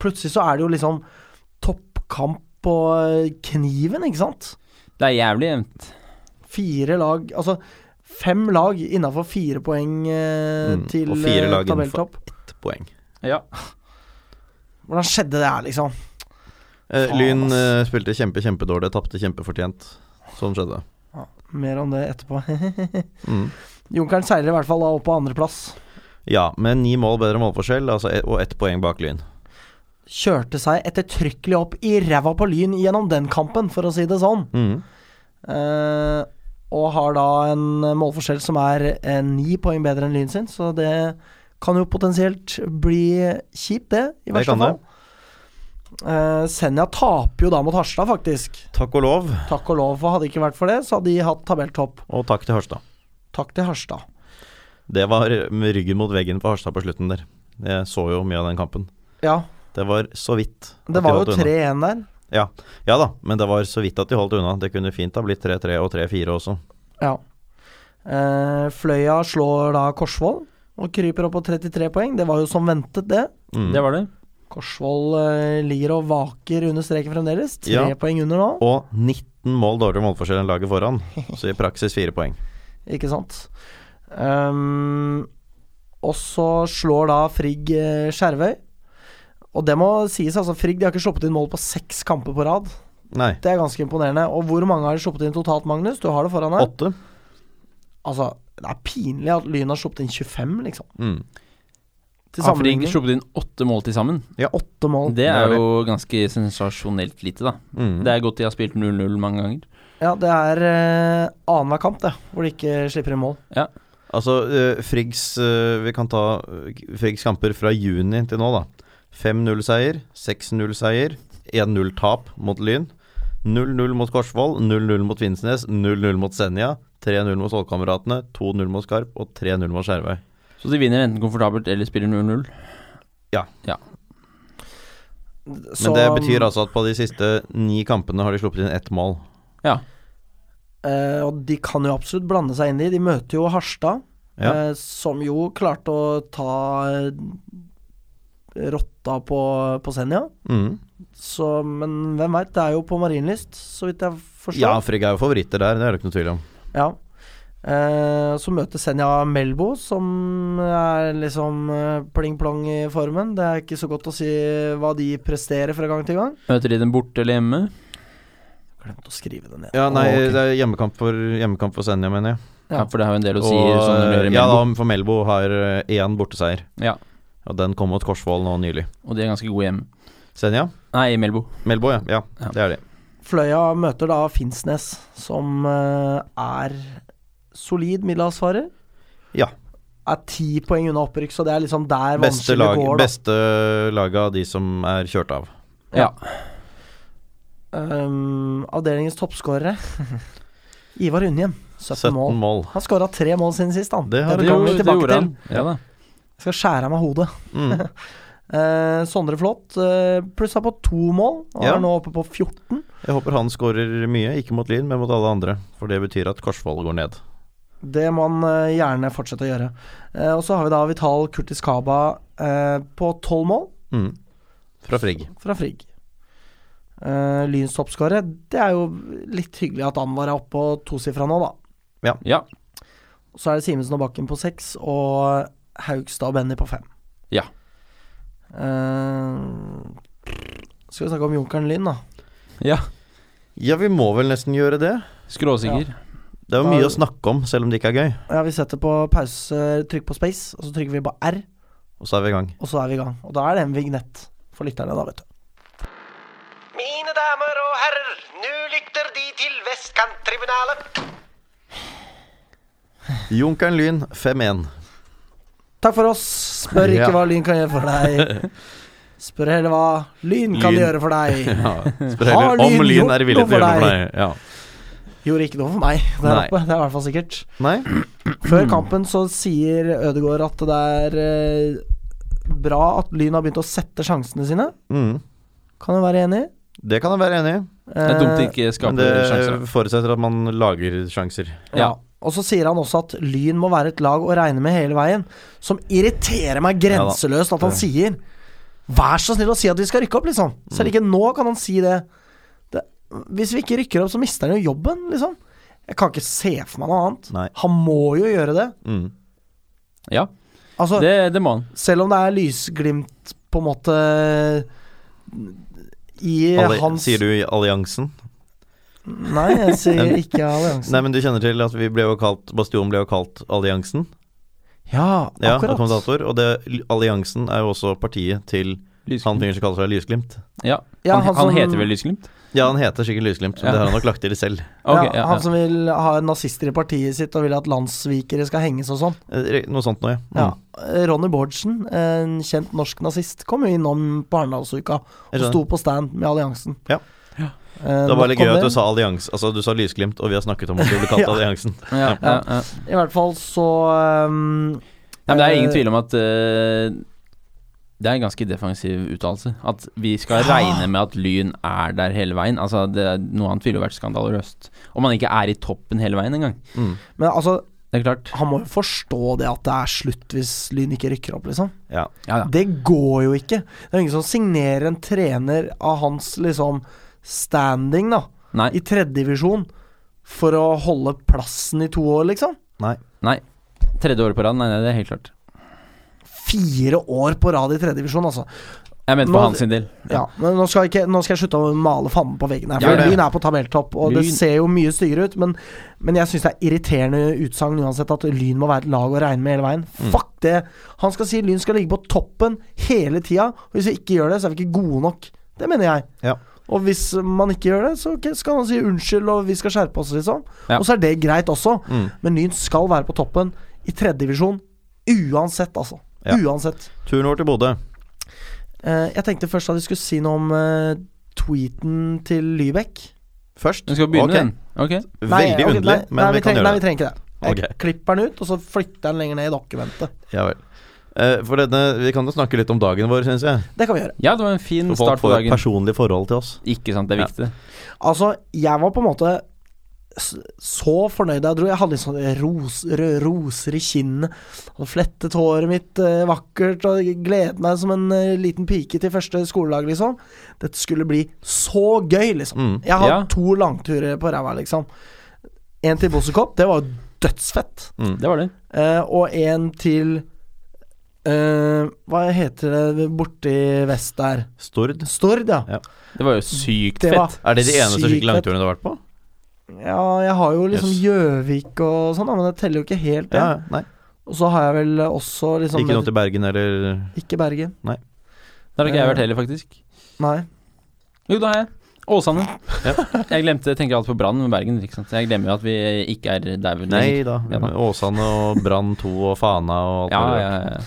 S1: plutselig så er det jo liksom toppkamp på eh, kniven, ikke sant?
S3: Det er jævlig jevnt.
S1: Fire lag Altså fem lag innafor fire poeng eh,
S2: Mm,
S1: til
S2: og fire
S1: eh,
S2: lag innenfor-
S1: tabelltopp.
S2: Ett poeng.
S3: Ja.
S1: Hvordan skjedde det her, liksom?
S2: Eh,
S1: Faen,
S2: Lyn
S1: ass.
S2: eh, spilte kjempe, kjempedårlig, tapte kjempefortjent. Sånn skjedde.
S1: Mer om det etterpå. [laughs]
S2: Mm.
S1: Junkeren seiler i hvert fall da opp på andreplass.
S2: Ja, med ni mål bedre målforskjell, altså, e- og ett poeng bak Lyn.
S1: Kjørte seg ettertrykkelig opp i ræva på Lyn gjennom den kampen, for å si det sånn.
S2: Mm.
S1: Eh, og har da en målforskjell som er eh, ni poeng bedre enn Lyn sin, så det kan jo potensielt bli kjipt, det. I
S2: Det
S1: verste
S2: kan
S1: fall.
S2: det.
S1: Eh, Senja taper jo da mot Harstad, faktisk.
S2: Takk og lov,
S1: Takk og lov, for hadde det ikke vært for det, så hadde de hatt tabelltopp.
S2: og takk til Harstad.
S1: Takk til Harstad.
S2: Det var eh, med ryggen mot veggen på Harstad på slutten der. Jeg så jo mye av den kampen.
S1: Ja,
S2: Det var så vidt. at de
S1: det var
S2: holdt
S1: jo
S2: unna.
S1: 3-1 der.
S2: Ja da, men det var så vidt at de holdt unna. Det kunne fint ha blitt 3-3 og 3-4 også.
S1: Ja. Eh, Fløya slår da Korsvoll og kryper opp på 33 poeng. Det var jo som ventet, det.
S2: Mm.
S3: Det var det.
S1: Korsvoll eh, ligger og vaker under streken fremdeles. Tre
S2: Ja.
S1: poeng under nå,
S2: Og 19 mål dårligere målforskjell enn laget foran, så i praksis fire poeng.
S1: ikke sant? Ehm, og så slår da Frigg eh, Skjervøy. Og det må sies, altså. Frigg de har ikke sluppet inn mål på seks kamper på rad.
S2: Nei,
S1: Det er ganske imponerende. Og hvor mange har de sluppet inn totalt, Magnus? Du har det foran deg.
S2: åtte.
S1: Altså, det er pinlig at Lyn har sluppet inn 25, liksom.
S2: Mm.
S1: Til
S3: Har Frigg
S1: sammenligning
S3: sluppet inn åtte mål til sammen.
S1: åtte mål.
S3: Det
S2: er
S3: er
S2: det.
S3: jo ganske sensasjonelt lite, da.
S2: Mm.
S3: Det er godt de har spilt 0-0 mange ganger.
S1: Ja, det er eh, annenhver kamp, det, hvor de ikke slipper inn mål.
S2: Altså, eh, Friggs eh, Vi kan ta eh, Friggs kamper fra juni til nå, da. 5-0-seier, 6-0-seier, 1-0-tap mot Lyn. 0-0 mot Korsvoll, 0-0 mot Finnsnes, 0-0 mot Senja. 3-0 mot Stålkameratene, 2-0 mot Skarp og 3-0 mot Skjervøy.
S3: Så de vinner enten komfortabelt eller spiller 0-0.
S2: Men det betyr altså at på de siste ni kampene har de sluppet inn ett mål.
S3: Ja.
S1: Eh, og de kan jo absolutt blande seg inn i. De møter jo Harstad,
S2: Ja.
S1: eh, som jo klarte å ta eh, rotta på, på Senja.
S2: Mm.
S1: Så, men hvem veit, det er jo på Marienlyst, så vidt jeg
S2: Ja,
S1: forstår.
S2: Frigg er jo favoritter der, det er det ikke noe tvil om.
S1: Ja. Eh, så møter Senja Melbo, som er liksom eh, pling-plong i formen. Det er ikke så godt å si hva de presterer fra gang til gang.
S3: Møter de dem borte eller hjemme?
S1: Glemte å skrive det ned.
S2: Ja, nei,
S1: Å, ok.
S2: det er hjemmekamp for, hjemmekamp for Senja, mener jeg.
S1: Ja.
S3: Ja. for det har jo en del å si.
S2: Og, eh,
S3: sånn når det
S2: ja,
S3: gjelder
S2: da,
S3: Melbo.
S2: for Melbo har eh, én borteseier.
S3: ja,
S2: Og den kom mot Korsvoll nå nylig.
S3: Og de er ganske gode hjemme.
S2: Senja?
S3: Nei, i Melbo.
S2: Melbo, ja. ja.
S3: Ja.
S2: Det er de.
S1: Fløya møter da Finnsnes, som eh, er solid middelhavsfarer.
S2: Ja.
S1: Er ti poeng unna opprykk, så det er liksom der
S2: Beste,
S1: vanskelig
S2: lag,
S1: går. Da.
S2: beste laget av de som er kjørt av.
S3: Ja.
S1: Ehm, avdelingens
S2: [laughs]
S1: toppskårere. Ivar Unnhjem, 17 mål. Han skåra tre mål siden sist, han.
S2: Det har
S1: Dette
S2: han
S1: kommer vi
S3: gjorde-
S1: tilbake
S3: gjorde
S1: til.
S3: han. Ja da.
S1: Jeg skal skjære av meg hodet.
S2: Mm.
S1: Eh, Sondre Flått uh, plussa på to mål, og
S2: Ja.
S1: er nå oppe på 14.
S2: Jeg håper han skårer mye, ikke mot Lyn, men mot alle andre. For det betyr at Korsvoll går ned.
S1: Det må han eh, gjerne fortsette å gjøre. Eh, og så har vi da Vital Kurtis Kaba eh, på tolv mål
S2: Mm. Fra Frigg.
S1: fra Frigg. Eh, Lyns toppskårer. Det er jo litt hyggelig at Anwar er oppe på tosifra nå, da.
S3: Ja.
S1: Så er det Simensen og Bakken på seks, og Haugstad og Benny på fem.
S3: Ja.
S1: Eh, skal vi snakke om Junkeren Lyn, da?
S3: ja.
S2: Ja, vi må vel nesten gjøre det.
S3: Skråsikker.
S2: Det er jo mye å snakke om, selv om det ikke er gøy.
S1: Ja, Vi setter på pause, trykk på space, og så trykker vi på R,
S2: Og så er vi i gang.
S1: og så er vi i gang. Og da er det en vignett for lytterne, da, vet du.
S6: Mine damer og herrer, nå lytter De til Vestkanttribunalet.
S2: Junkeren Lyn 5-1.
S1: Takk for oss. Spør ikke
S2: [laughs] Ja.
S1: hva Lyn kan gjøre for deg. Spør heller hva Lyn kan
S2: Lyn.
S1: gjøre for deg.
S2: Ja. Spør
S1: Har
S2: heller om
S1: Lyn
S2: Lyn
S1: gjort
S2: er villig
S1: noe
S2: til å
S1: for
S2: gjøre noe for
S1: deg?
S2: deg. Ja.
S1: Gjorde ikke noe for meg der
S2: Nei.
S1: oppe, det er i hvert fall sikkert.
S2: Nei?
S3: Mm.
S1: Før kampen så sier Ødegaard at det er eh, bra at Lyn har begynt å sette sjansene sine.
S2: Mm.
S1: Kan du være enig? i?
S2: Det kan jeg være enig i,
S3: Det er dumt å
S1: Eh,
S3: ikke
S2: men
S3: skape
S2: det
S3: sjanser.
S2: forutsetter at man lager sjanser.
S1: Eh, Ja. Og så sier han også at Lyn må være et lag å regne med hele veien. Som irriterer meg grenseløst at han sier. Vær så snill å si at vi skal rykke opp, liksom.
S3: Mm.
S1: Selv ikke nå kan han si det. det hvis vi ikke rykker opp, så mister han jo jobben, liksom. Jeg kan ikke se for meg noe annet.
S2: Nei.
S1: Han må jo gjøre det.
S2: Mm.
S3: Ja,
S1: Altså,
S3: det, det må han.
S1: selv om det er lysglimt på en måte i
S2: Alli
S1: hans
S2: Sier du i alliansen?
S1: Nei, jeg
S2: [laughs]
S1: sier ikke alliansen.
S2: Nei, men du kjenner til at vi ble jo kalt Bastion ble jo kalt Alliansen.
S1: Ja,
S2: Ja, av
S1: akkurat.
S2: kommentator. Og det, Alliansen er jo også partiet til han fyren som kaller seg Lysglimt.
S3: Ja.
S1: Ja,
S3: Han, han,
S1: som-
S3: heter vel Lysglimt?
S2: Ja, han heter sikkert Lysglimt, men
S3: Ja.
S2: det har han nok lagt til selv.
S3: Ok,
S1: ja,
S3: ja,
S1: han
S3: ja.
S1: som vil ha nazister i partiet sitt og vil at landssvikere skal henges og sånn.
S2: Eh, re- Noe sånt noe, ja. Mm.
S1: Ja. Ronny Bårdsen, en kjent norsk nazist, kom jo innom på Arendalsuka
S2: Jeg
S1: og
S2: skjønner.
S1: sto på stand med alliansen.
S2: Ja.
S1: Eh,
S2: Det var veldig
S1: nok om
S2: gøy at du
S1: det.
S2: sa allianse Altså du sa Lysglimt, og vi har snakket om at du ble
S1: [laughs]
S2: kalt
S1: Ja.
S2: Alliansen.
S3: Ja, ja, ja.
S1: I hvert fall så ehm,
S3: Nei, men det er ingen
S1: Eh,
S3: tvil om at eh, det er en ganske defensiv uttalelse. At vi skal regne med at Lyn er der hele veien. Altså, det er, Noe annet ville jo vært skandaløst. Om man ikke er i toppen hele veien engang.
S2: Mm.
S1: Men altså,
S3: Det er klart.
S1: han må jo forstå det at det er slutt hvis Lyn ikke rykker opp, liksom.
S2: Ja.
S3: Ja, ja.
S1: Det går jo ikke. Det er ingen som signerer en trener av hans liksom standing, da,
S3: Nei.
S1: i tredjedivisjon, for å holde plassen i to år, liksom.
S2: Nei.
S3: nei. Tredje året på rad, nei, nei, det er helt klart.
S1: Fire år på rad i tredjedivisjon, altså.
S3: Jeg mente
S1: Nå-
S3: på hans sin del.
S1: Ja, men nå skal, jeg ikke, nå skal jeg slutte å male fanden på veggen her. For
S3: Ja, ja.
S1: Lyn er på tabelltopp, og det
S3: Lyn.
S1: ser jo mye styggere ut. Men, men jeg syns det er irriterende utsagn uansett at Lyn må være et lag å regne med hele veien.
S3: Mm.
S1: Fuck det! Han skal si Lyn skal ligge på toppen hele tida, og hvis vi ikke gjør det, så er vi ikke gode nok. Det mener jeg.
S2: Ja.
S1: Og hvis man ikke gjør det, så ok, skal han si unnskyld, og vi skal skjerpe oss, liksom.
S3: Ja.
S1: Og så er det greit også.
S2: Mm.
S1: Men Lyn skal være på toppen i tredjedivisjon uansett, altså.
S2: Ja.
S1: Uansett.
S2: Turen vår til Bodø.
S1: Eh, jeg tenkte først at vi skulle si noe om eh, tweeten til Lybekk.
S2: Først.
S3: Men skal vi begynne
S2: Ok.
S3: med den? Ok.
S1: Nei,
S2: Veldig
S1: ok,
S2: underlig,
S1: nei,
S2: men
S1: nei,
S2: vi kan
S1: trenger,
S2: gjøre
S1: Nei, vi
S2: det.
S1: trenger ikke det. Jeg
S2: Ok.
S1: klipper den ut, og så flytter jeg den lenger ned i dokumentet.
S2: Ja vel. Eh, for denne, vi kan jo snakke litt om dagen vår, syns jeg.
S1: Det kan vi gjøre.
S3: Ja, det var en
S2: For folk
S3: fin Mm, start på
S2: får et
S3: dagen.
S2: personlig forhold til oss.
S3: Ikke sant, det er
S2: Ja.
S3: viktig.
S1: Altså, jeg var på en måte s- så fornøyd da jeg dro. Jeg hadde litt sånn ros, røde roser i kinnene. Hadde flettet håret mitt eh, vakkert og gledet meg som en eh, liten pike til første skoledag, liksom. Dette skulle bli så gøy, liksom.
S2: Mm.
S1: Jeg har
S3: Ja.
S1: to langturer på ræva, liksom. En til Bossekopp, det var jo dødsfett.
S3: Det var det.
S1: Eh, og en til eh, Hva heter det borti vest der?
S2: Stord.
S1: Stord, ja.
S2: Ja.
S3: Det var jo sykt
S1: Det var-
S3: fett.
S2: Er det de eneste
S1: Sykt
S2: skikkelig langturene du har vært på?
S1: Ja, jeg har jo liksom
S2: Yes.
S1: Gjøvik og sånn, da, men det teller jo ikke helt. det.
S2: Ja, ja, nei.
S1: Og så har jeg vel også liksom
S2: Ikke noe til Bergen eller
S1: Ikke Bergen.
S3: Der har ikke jeg vært heller, faktisk.
S1: Nei.
S3: Jo, det har jeg. Åsane. [laughs] Jeg glemte, jeg tenker alltid på Brann med Bergen. Ikke sant? Jeg glemmer jo at vi ikke er der. vi-
S2: Nei da.
S3: Ja da.
S2: Åsane og Brann 2 og Fana og alt
S3: Ja,
S2: mulig
S3: [laughs] ja,
S2: rart.
S3: ja.
S1: Eh,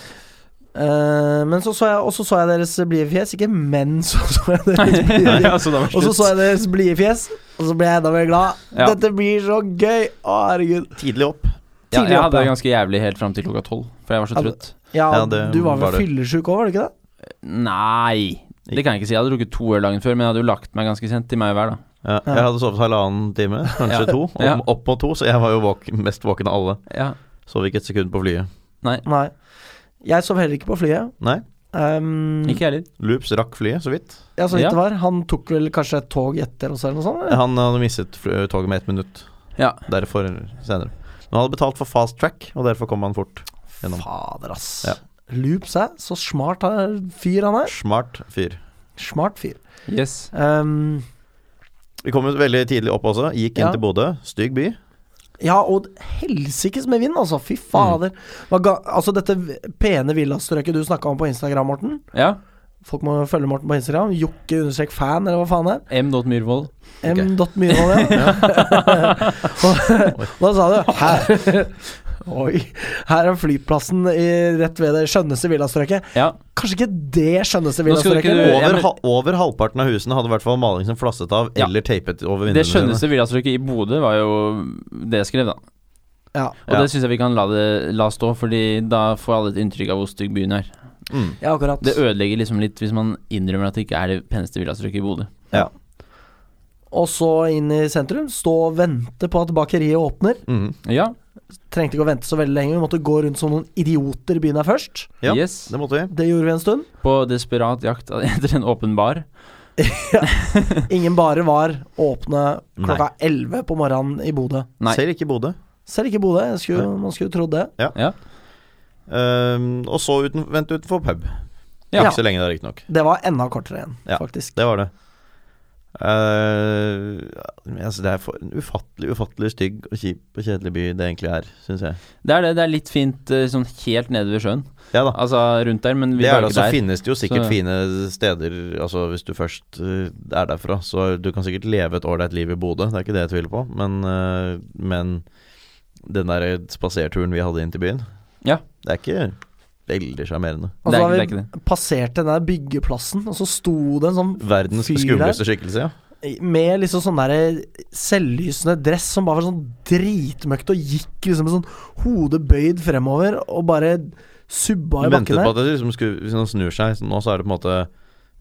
S1: Eh, men så så jeg, og så så jeg deres blide fjes. Ikke men, [laughs] så så jeg deres blide
S3: [laughs] Nei,
S1: fjes.
S3: altså, da var
S1: Og så
S3: det
S1: så
S3: slutt.
S1: jeg deres blide fjes, og så ble jeg enda mer glad.
S3: Ja.
S1: Dette blir så gøy! Å, herregud.
S2: Tidlig opp.
S3: Ja,
S1: tidlig
S3: jeg
S1: opp,
S3: hadde det
S1: ja.
S3: ganske jævlig helt fram til klokka tolv, for jeg var så
S1: Ja, det-
S3: trøtt.
S1: Ja,
S2: Ja, det
S1: du var
S2: var
S1: vel
S2: det.
S1: fyllesyk òg, var du ikke det?
S3: Nei, det kan jeg ikke si. Jeg hadde drukket to øl dagen før, men jeg hadde jo lagt meg ganske sent. Til meg hver, da.
S2: Ja, jeg hadde sovet halvannen time, kanskje
S3: Ja.
S2: to. Om,
S3: Ja.
S2: Opp mot to, så jeg var jo våk, mest våken av alle.
S3: Ja.
S2: Sov ikke et sekund på flyet.
S1: Nei. Jeg sov heller ikke på flyet.
S2: Nei,
S1: Um,
S3: Ikke jeg heller.
S2: Loops rakk flyet, så vidt.
S1: Ja, så vidt
S3: Ja.
S1: det var. Han tok vel kanskje et tog etter oss, eller noe sånt? Eller?
S2: Han hadde mistet fly- toget med ett minutt.
S3: Ja.
S2: Derfor senere. Men han hadde betalt for fast track, og derfor kom han fort gjennom.
S1: Fader, ass.
S2: Ja.
S1: Loops er så smart han- fyr han er.
S2: Smart fyr.
S1: Smart fyr.
S3: Yes.
S1: Um,
S2: Vi kom jo veldig tidlig opp også. Gikk inn
S1: Ja.
S2: til Bodø. Stygg by.
S3: Eh,
S1: ja, og helsikes med vind, altså. Fy fader.
S3: Mm.
S1: Hva ga, altså, dette pene villastrøket du snakka om på Instagram, Morten.
S3: Ja.
S1: Folk må følge Morten på Instagram. Jokke understrek fan, eller hva faen det er.
S3: M.Myhrvold.
S2: Ok.
S1: M.Myhrvold,
S3: [laughs]
S1: ja. [laughs] Og- da sa du her Oi. Her er flyplassen i, rett ved det skjønneste villastrøket.
S3: Ja.
S1: Kanskje ikke det skjønneste
S3: Nå skal du ikke-
S1: villastrøket?
S3: Ja,
S2: Over,
S3: men-
S2: ha, over halvparten av husene hadde i hvert fall maling som flasset av
S3: Ja.
S2: eller teipet over vinduene.
S3: Det skjønneste villastrøket i Bodø var jo det jeg skrev, da.
S1: Ja.
S3: Og
S2: Ja.
S3: det syns jeg vi kan la, det, la stå, Fordi da får alle et inntrykk av hvor stygg byen er.
S2: Mm.
S1: ja, akkurat.
S3: Det ødelegger liksom litt hvis man innrømmer at det ikke er det peneste villastrøket i Bodø.
S1: Og så inn i sentrum. Stå og vente på at bakeriet åpner.
S2: Mm.
S3: Ja,
S1: Trengte ikke å vente så veldig lenge. Vi måtte gå rundt som noen idioter i byen her først.
S2: Ja.
S3: yes.
S2: Det måtte vi.
S1: Det gjorde vi en
S3: [laughs]
S1: stund.
S3: På desperat jakt [laughs] etter en åpen bar.
S1: Ingen bare var åpne
S2: Nei.
S1: klokka 11 på morgenen i Bodø.
S3: Nei.
S2: Selv ikke Bodø.
S1: Selv ikke Bodø. jeg skulle- Man skulle trodd det.
S3: Ja.
S2: Ehm, og så uten, vente utenfor pub.
S3: Ja.
S2: Ikke så lenge, da, riktignok.
S1: Det var enda kortere igjen,
S2: Ja.
S1: faktisk.
S2: Det var det. Eh, ja, altså det er for, en ufattelig, ufattelig stygg og kjip og kjedelig by det egentlig er, syns jeg.
S3: Det er det. Det er litt fint eh, sånn helt nede ved sjøen.
S2: Ja da.
S3: Altså rundt der, men vi
S2: Det er altså
S3: var
S2: det,
S3: ikke
S2: så
S3: der.
S2: finnes det jo sikkert
S3: Så-
S2: fine steder Altså Hvis du først eh, er derfra, så du kan sikkert leve et ålreit liv i Bodø. Det er ikke det jeg tviler på, men, eh, men den der spaserturen vi hadde inn til byen
S3: Ja.
S2: Det er ikke veldig sjarmerende.
S1: Og
S3: Det
S1: så
S3: er
S1: har
S3: ikke-
S1: vi
S3: det er ikke
S1: passert den der byggeplassen, og så sto det en sånn
S2: Verdens
S1: Fyr der.
S2: skumleste skikkelse, ja.
S1: med liksom sånn der selvlysende dress som bare var sånn dritmøkt og gikk liksom med sånn hodet bøyd fremover og bare subba i
S2: Du ventet
S1: bakken
S2: på
S1: der.
S2: at det liksom skulle, hvis han snur seg sånn nå, så er det på en måte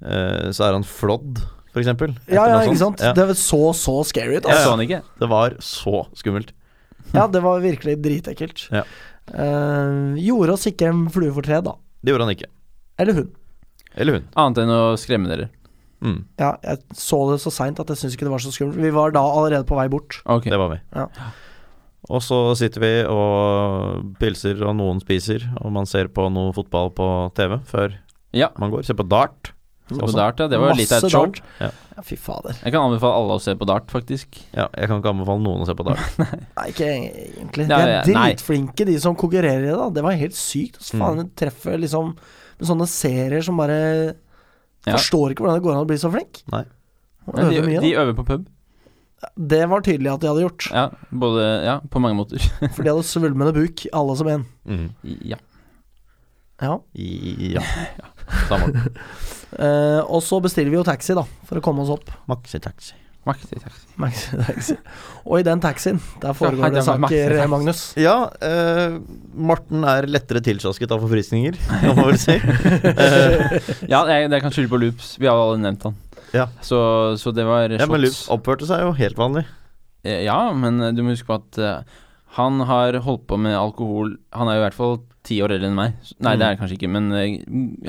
S2: eh, Så er han flådd, for eksempel.
S1: Ja, ja,
S2: Etter noe
S1: ikke sant.
S2: sånt. Ja.
S1: Det var så, så scary ut,
S3: Jeg
S1: altså.
S3: så han ikke.
S2: Det var så skummelt.
S1: Ja, det var virkelig dritekkelt.
S2: Ja.
S1: Eh, gjorde oss ikke en flue for tre, da.
S2: Det gjorde han ikke.
S1: Eller hun.
S2: Eller hun.
S3: Annet enn å skremme dere.
S2: Mm,
S1: Ja, jeg så det så seint at jeg syns ikke det var så skummelt. Vi var da allerede på vei bort.
S3: Ok.
S2: Det var vi.
S1: Ja.
S2: Og så sitter vi og pilser, og noen spiser, og man ser på noe fotball på TV før
S3: Ja.
S2: man går. Ser på dart.
S3: Se på
S2: Også.
S3: dart, ja. Det var jo litt av et
S1: Masse
S3: show.
S1: dart.
S2: Ja.
S1: Ja, fy fader.
S3: Jeg kan anbefale alle å se på dart, faktisk.
S2: Ja, jeg kan ikke anbefale noen å se på dart.
S3: [laughs]
S1: Nei, ikke egentlig.
S3: Ja,
S1: de
S3: ja,
S1: er
S3: nei.
S1: dritflinke, de som konkurrerer i det. da. Det var helt sykt. Altså,
S2: Mm.
S1: faen, de treffer liksom med sånne serier som bare
S3: Ja.
S1: Forstår ikke hvordan det går an å bli så flink.
S2: Nei.
S1: Og
S3: Nei,
S1: øver
S3: de,
S1: mye,
S3: de øver på pub.
S1: da. Det var tydelig at de hadde gjort.
S3: Ja, både, ja, på mange måter. [laughs]
S1: For de hadde svulmende buk, alle som en.
S2: Mm.
S3: Ja.
S1: Ja.
S2: I- Ja. Samme.
S1: Eh, og så bestiller vi jo taxi, da, for å komme oss opp. [laughs]
S2: Maxitaxi.
S3: Maktig, takk.
S1: Maxi taxi. Og i den taxien, der
S3: Ja,
S1: foregår det
S3: det var
S1: saker, eh,
S3: maxi-taxi.
S1: Magnus.
S2: Ja, eh, Morten er lettere tilsjasket av forfriskninger, [laughs] kan man
S3: [laughs]
S2: vel si. Eh,
S3: Ja, jeg, det kan skylde på Loops. Vi har alle nevnt han.
S2: Ja.
S3: Så, så det var
S2: ja, men Loops
S3: shots.
S2: oppførte seg jo helt vanlig.
S3: Eh, Ja, men eh, du må huske på at eh, han har holdt på med alkohol Han er jo i hvert fall ti år eldre enn meg. S-
S2: Mm.
S3: Nei, det er han kanskje ikke, men eh,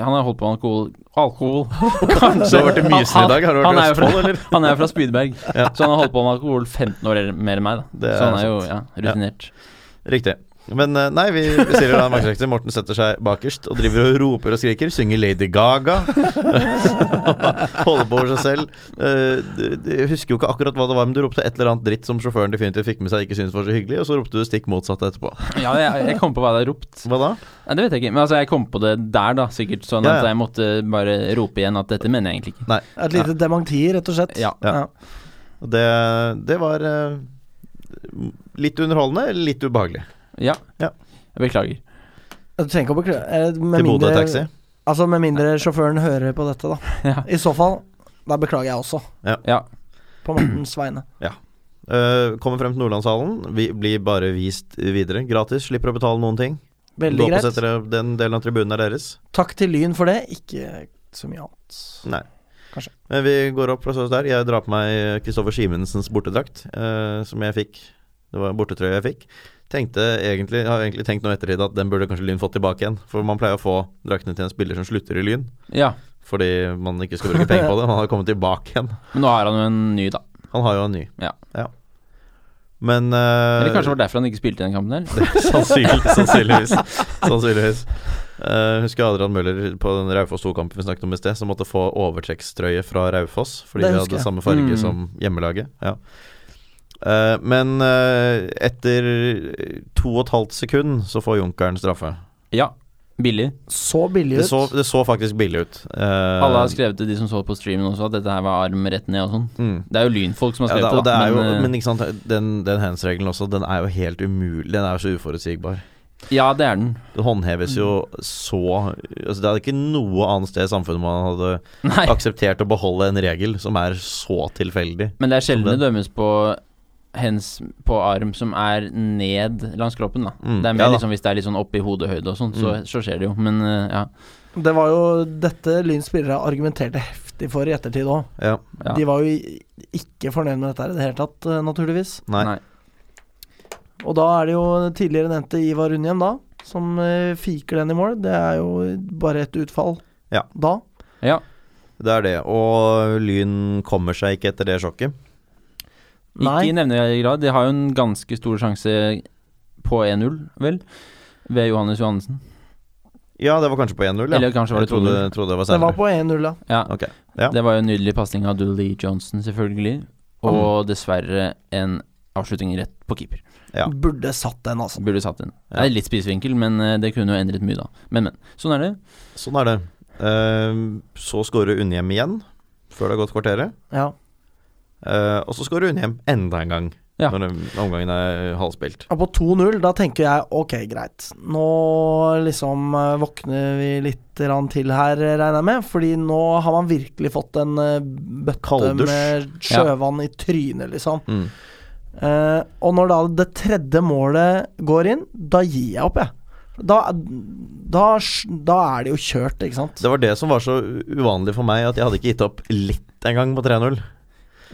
S3: han har holdt på med alkohol Alkohol!
S2: [laughs] Så du har vært i mysen i dag? Har du vært
S3: Han
S2: i
S3: er jo
S2: Østfold,
S3: fra-
S2: eller?
S3: [laughs] Han er jo fra Spydberg,
S2: Ja.
S3: så han har holdt på med alkohol 15 år eller- mer enn meg.
S2: Det
S3: da Så han
S2: er
S3: er jo ja, rutinert.
S2: Riktig. Men eh, nei, vi bestiller da en matchrekte. Morten setter seg bakerst og driver og roper og skriker. Synger Lady Gaga. [laughs] Holder på over seg selv. Eh, d- d- Jeg husker jo ikke akkurat hva det var, men du ropte et eller annet dritt som sjåføren definitivt fikk med seg ikke syntes var så hyggelig, og så ropte du stikk motsatt etterpå.
S3: Ja, jeg, jeg kom på hva jeg hadde ropt.
S2: Hva da?
S3: Nei, Det vet jeg ikke, men altså jeg kom på det der, da, sikkert. Sånn
S2: Ja, ja.
S3: at jeg måtte bare rope igjen at dette mener jeg egentlig ikke.
S2: Nei.
S1: Et lite dementi, rett og slett.
S3: Ja.
S2: Ja. Det, det var eh, litt underholdende, litt ubehagelig.
S3: Ja.
S2: Ja.
S3: Jeg beklager. [laughs]
S1: Du trenger ikke å beklage. eh, Med
S2: Til Bodø
S1: mindre,
S2: Taxi.
S1: altså med mindre sjåføren hører på dette, da.
S3: Ja.
S1: I så fall, da beklager jeg også,
S3: ja.
S1: på
S2: [clears throat]
S1: Mortens vegne.
S2: Eh, kommer frem til Nordlandshallen. Vi blir bare vist videre. Gratis. Slipper å betale noen ting.
S1: Veldig
S2: Gå opp og
S1: greit.
S2: sett dere Den delen av tribunen er deres.
S1: Takk til Lyn for det, ikke så mye annet.
S2: Nei.
S1: Kanskje.
S2: Men vi går opp fra oss der. Jeg drar på meg Kristoffer Simensens bortedrakt, eh, som jeg fikk. Det var en bortetrøye jeg fikk. Tenkte egentlig, jeg har egentlig tenkt nå i ettertid at den burde kanskje Lyn fått tilbake igjen. For man pleier å få draktene til en spiller som slutter i Lyn,
S3: ja.
S2: fordi man ikke skal bruke penger på det. Han har kommet tilbake igjen.
S3: Men nå har han jo en ny, da.
S2: Han har jo en ny.
S3: Ja.
S2: Men
S3: Eller
S2: eh,
S3: kanskje det var derfor han ikke spilte i den kampen heller.
S2: [laughs] Sannsynlig, sannsynligvis. sannsynligvis. Eh, husker Adrian Møller på den Raufoss 2-kampen vi snakket om i sted, som måtte få overtrekkstrøye fra Raufoss fordi
S1: Det
S2: de
S1: husker
S2: hadde
S1: jeg.
S2: samme farge
S3: Mm.
S2: som hjemmelaget. Ja. Eh, men eh, etter to og et halvt sekund så får Junkeren straffe.
S3: Ja. Billig.
S1: Så billig
S2: Det så,
S1: ut.
S2: det så faktisk billig ut. Eh,
S3: Alle har skrevet til de som så på streamen også, at dette her var arm rett ned og sånn.
S2: mm.
S3: Det er jo lynfolk som har
S2: Ja, det,
S3: skrevet
S2: og
S3: det,
S2: det
S3: da.
S2: er jo,
S3: men, eh,
S2: men ikke sant, den, den hands-regelen også, den er jo helt umulig. Den er jo så uforutsigbar.
S3: ja, det er den. [laughs]
S2: Det håndheves jo så altså Det er ikke noe annet sted i samfunnet man hadde
S3: Nei,
S2: akseptert å beholde en regel som er så tilfeldig.
S3: men det er sjelden
S2: den-
S3: det dømmes på hens på arm som er ned langs kroppen, da.
S2: Mm,
S3: Det er mer
S2: ja da. Mm.
S3: liksom hvis det er litt sånn oppi hodehøyde og sånn, så, så skjer det jo. Men eh, ja.
S1: Det var jo dette Lyns spillere argumenterte heftig for i ettertid òg.
S2: Ja,
S3: Ja.
S1: De var jo i- ikke fornøyd med dette her i det hele tatt, eh, naturligvis.
S2: nei.
S3: Nei.
S1: Og da er det jo tidligere nevnte Ivar Unnhjem, da, som eh, fiker den i mål. Det er jo bare et utfall
S2: Ja.
S1: da.
S3: Ja.
S2: Det er det. Og Lyn kommer seg ikke etter det sjokket.
S3: Ikke i
S1: Nei,
S3: nevneverdig grad. De har jo en ganske stor sjanse på 1-0, vel, ved Johannes Johannessen.
S2: Ja, det var kanskje på 1-0. Ja.
S3: Eller kanskje var det
S2: Jeg trodde,
S3: 2-0.
S2: trodde det var
S1: det var
S2: senere.
S1: på 1-0, da.
S3: Ja.
S2: Ok, ja.
S3: Det var jo en nydelig pasning av Dooley Johnson, selvfølgelig.
S2: Mm.
S3: Og dessverre en avslutning rett på keeper.
S2: Ja.
S1: Burde satt den, altså.
S3: Burde satt inn.
S2: Ja.
S3: Det er litt spisevinkel, men eh, det kunne jo endret mye, da. Men, men. Sånn er det.
S2: Sånn er det. Ehm, så skårer Unnhjem igjen, før det har gått kvarteret.
S1: Ja.
S2: Ehm, og så skårer Unnhjem enda en gang,
S3: Ja.
S2: når den omgangen er halvspilt.
S1: Ja, På 2-0, da tenker jeg ok, greit. Nå liksom eh, våkner vi litt grann til her, eh, regner jeg med. Fordi nå har man virkelig fått en eh, bøtte
S2: Kalddusj.
S1: med sjøvann i trynet, liksom.
S2: Mm.
S1: Eh, og når da det tredje målet går inn, da gir jeg opp, jeg. Da, da, da er det jo kjørt, ikke sant?
S2: Det var det som var så u- uvanlig for meg, at jeg hadde ikke gitt opp litt engang på 3-0.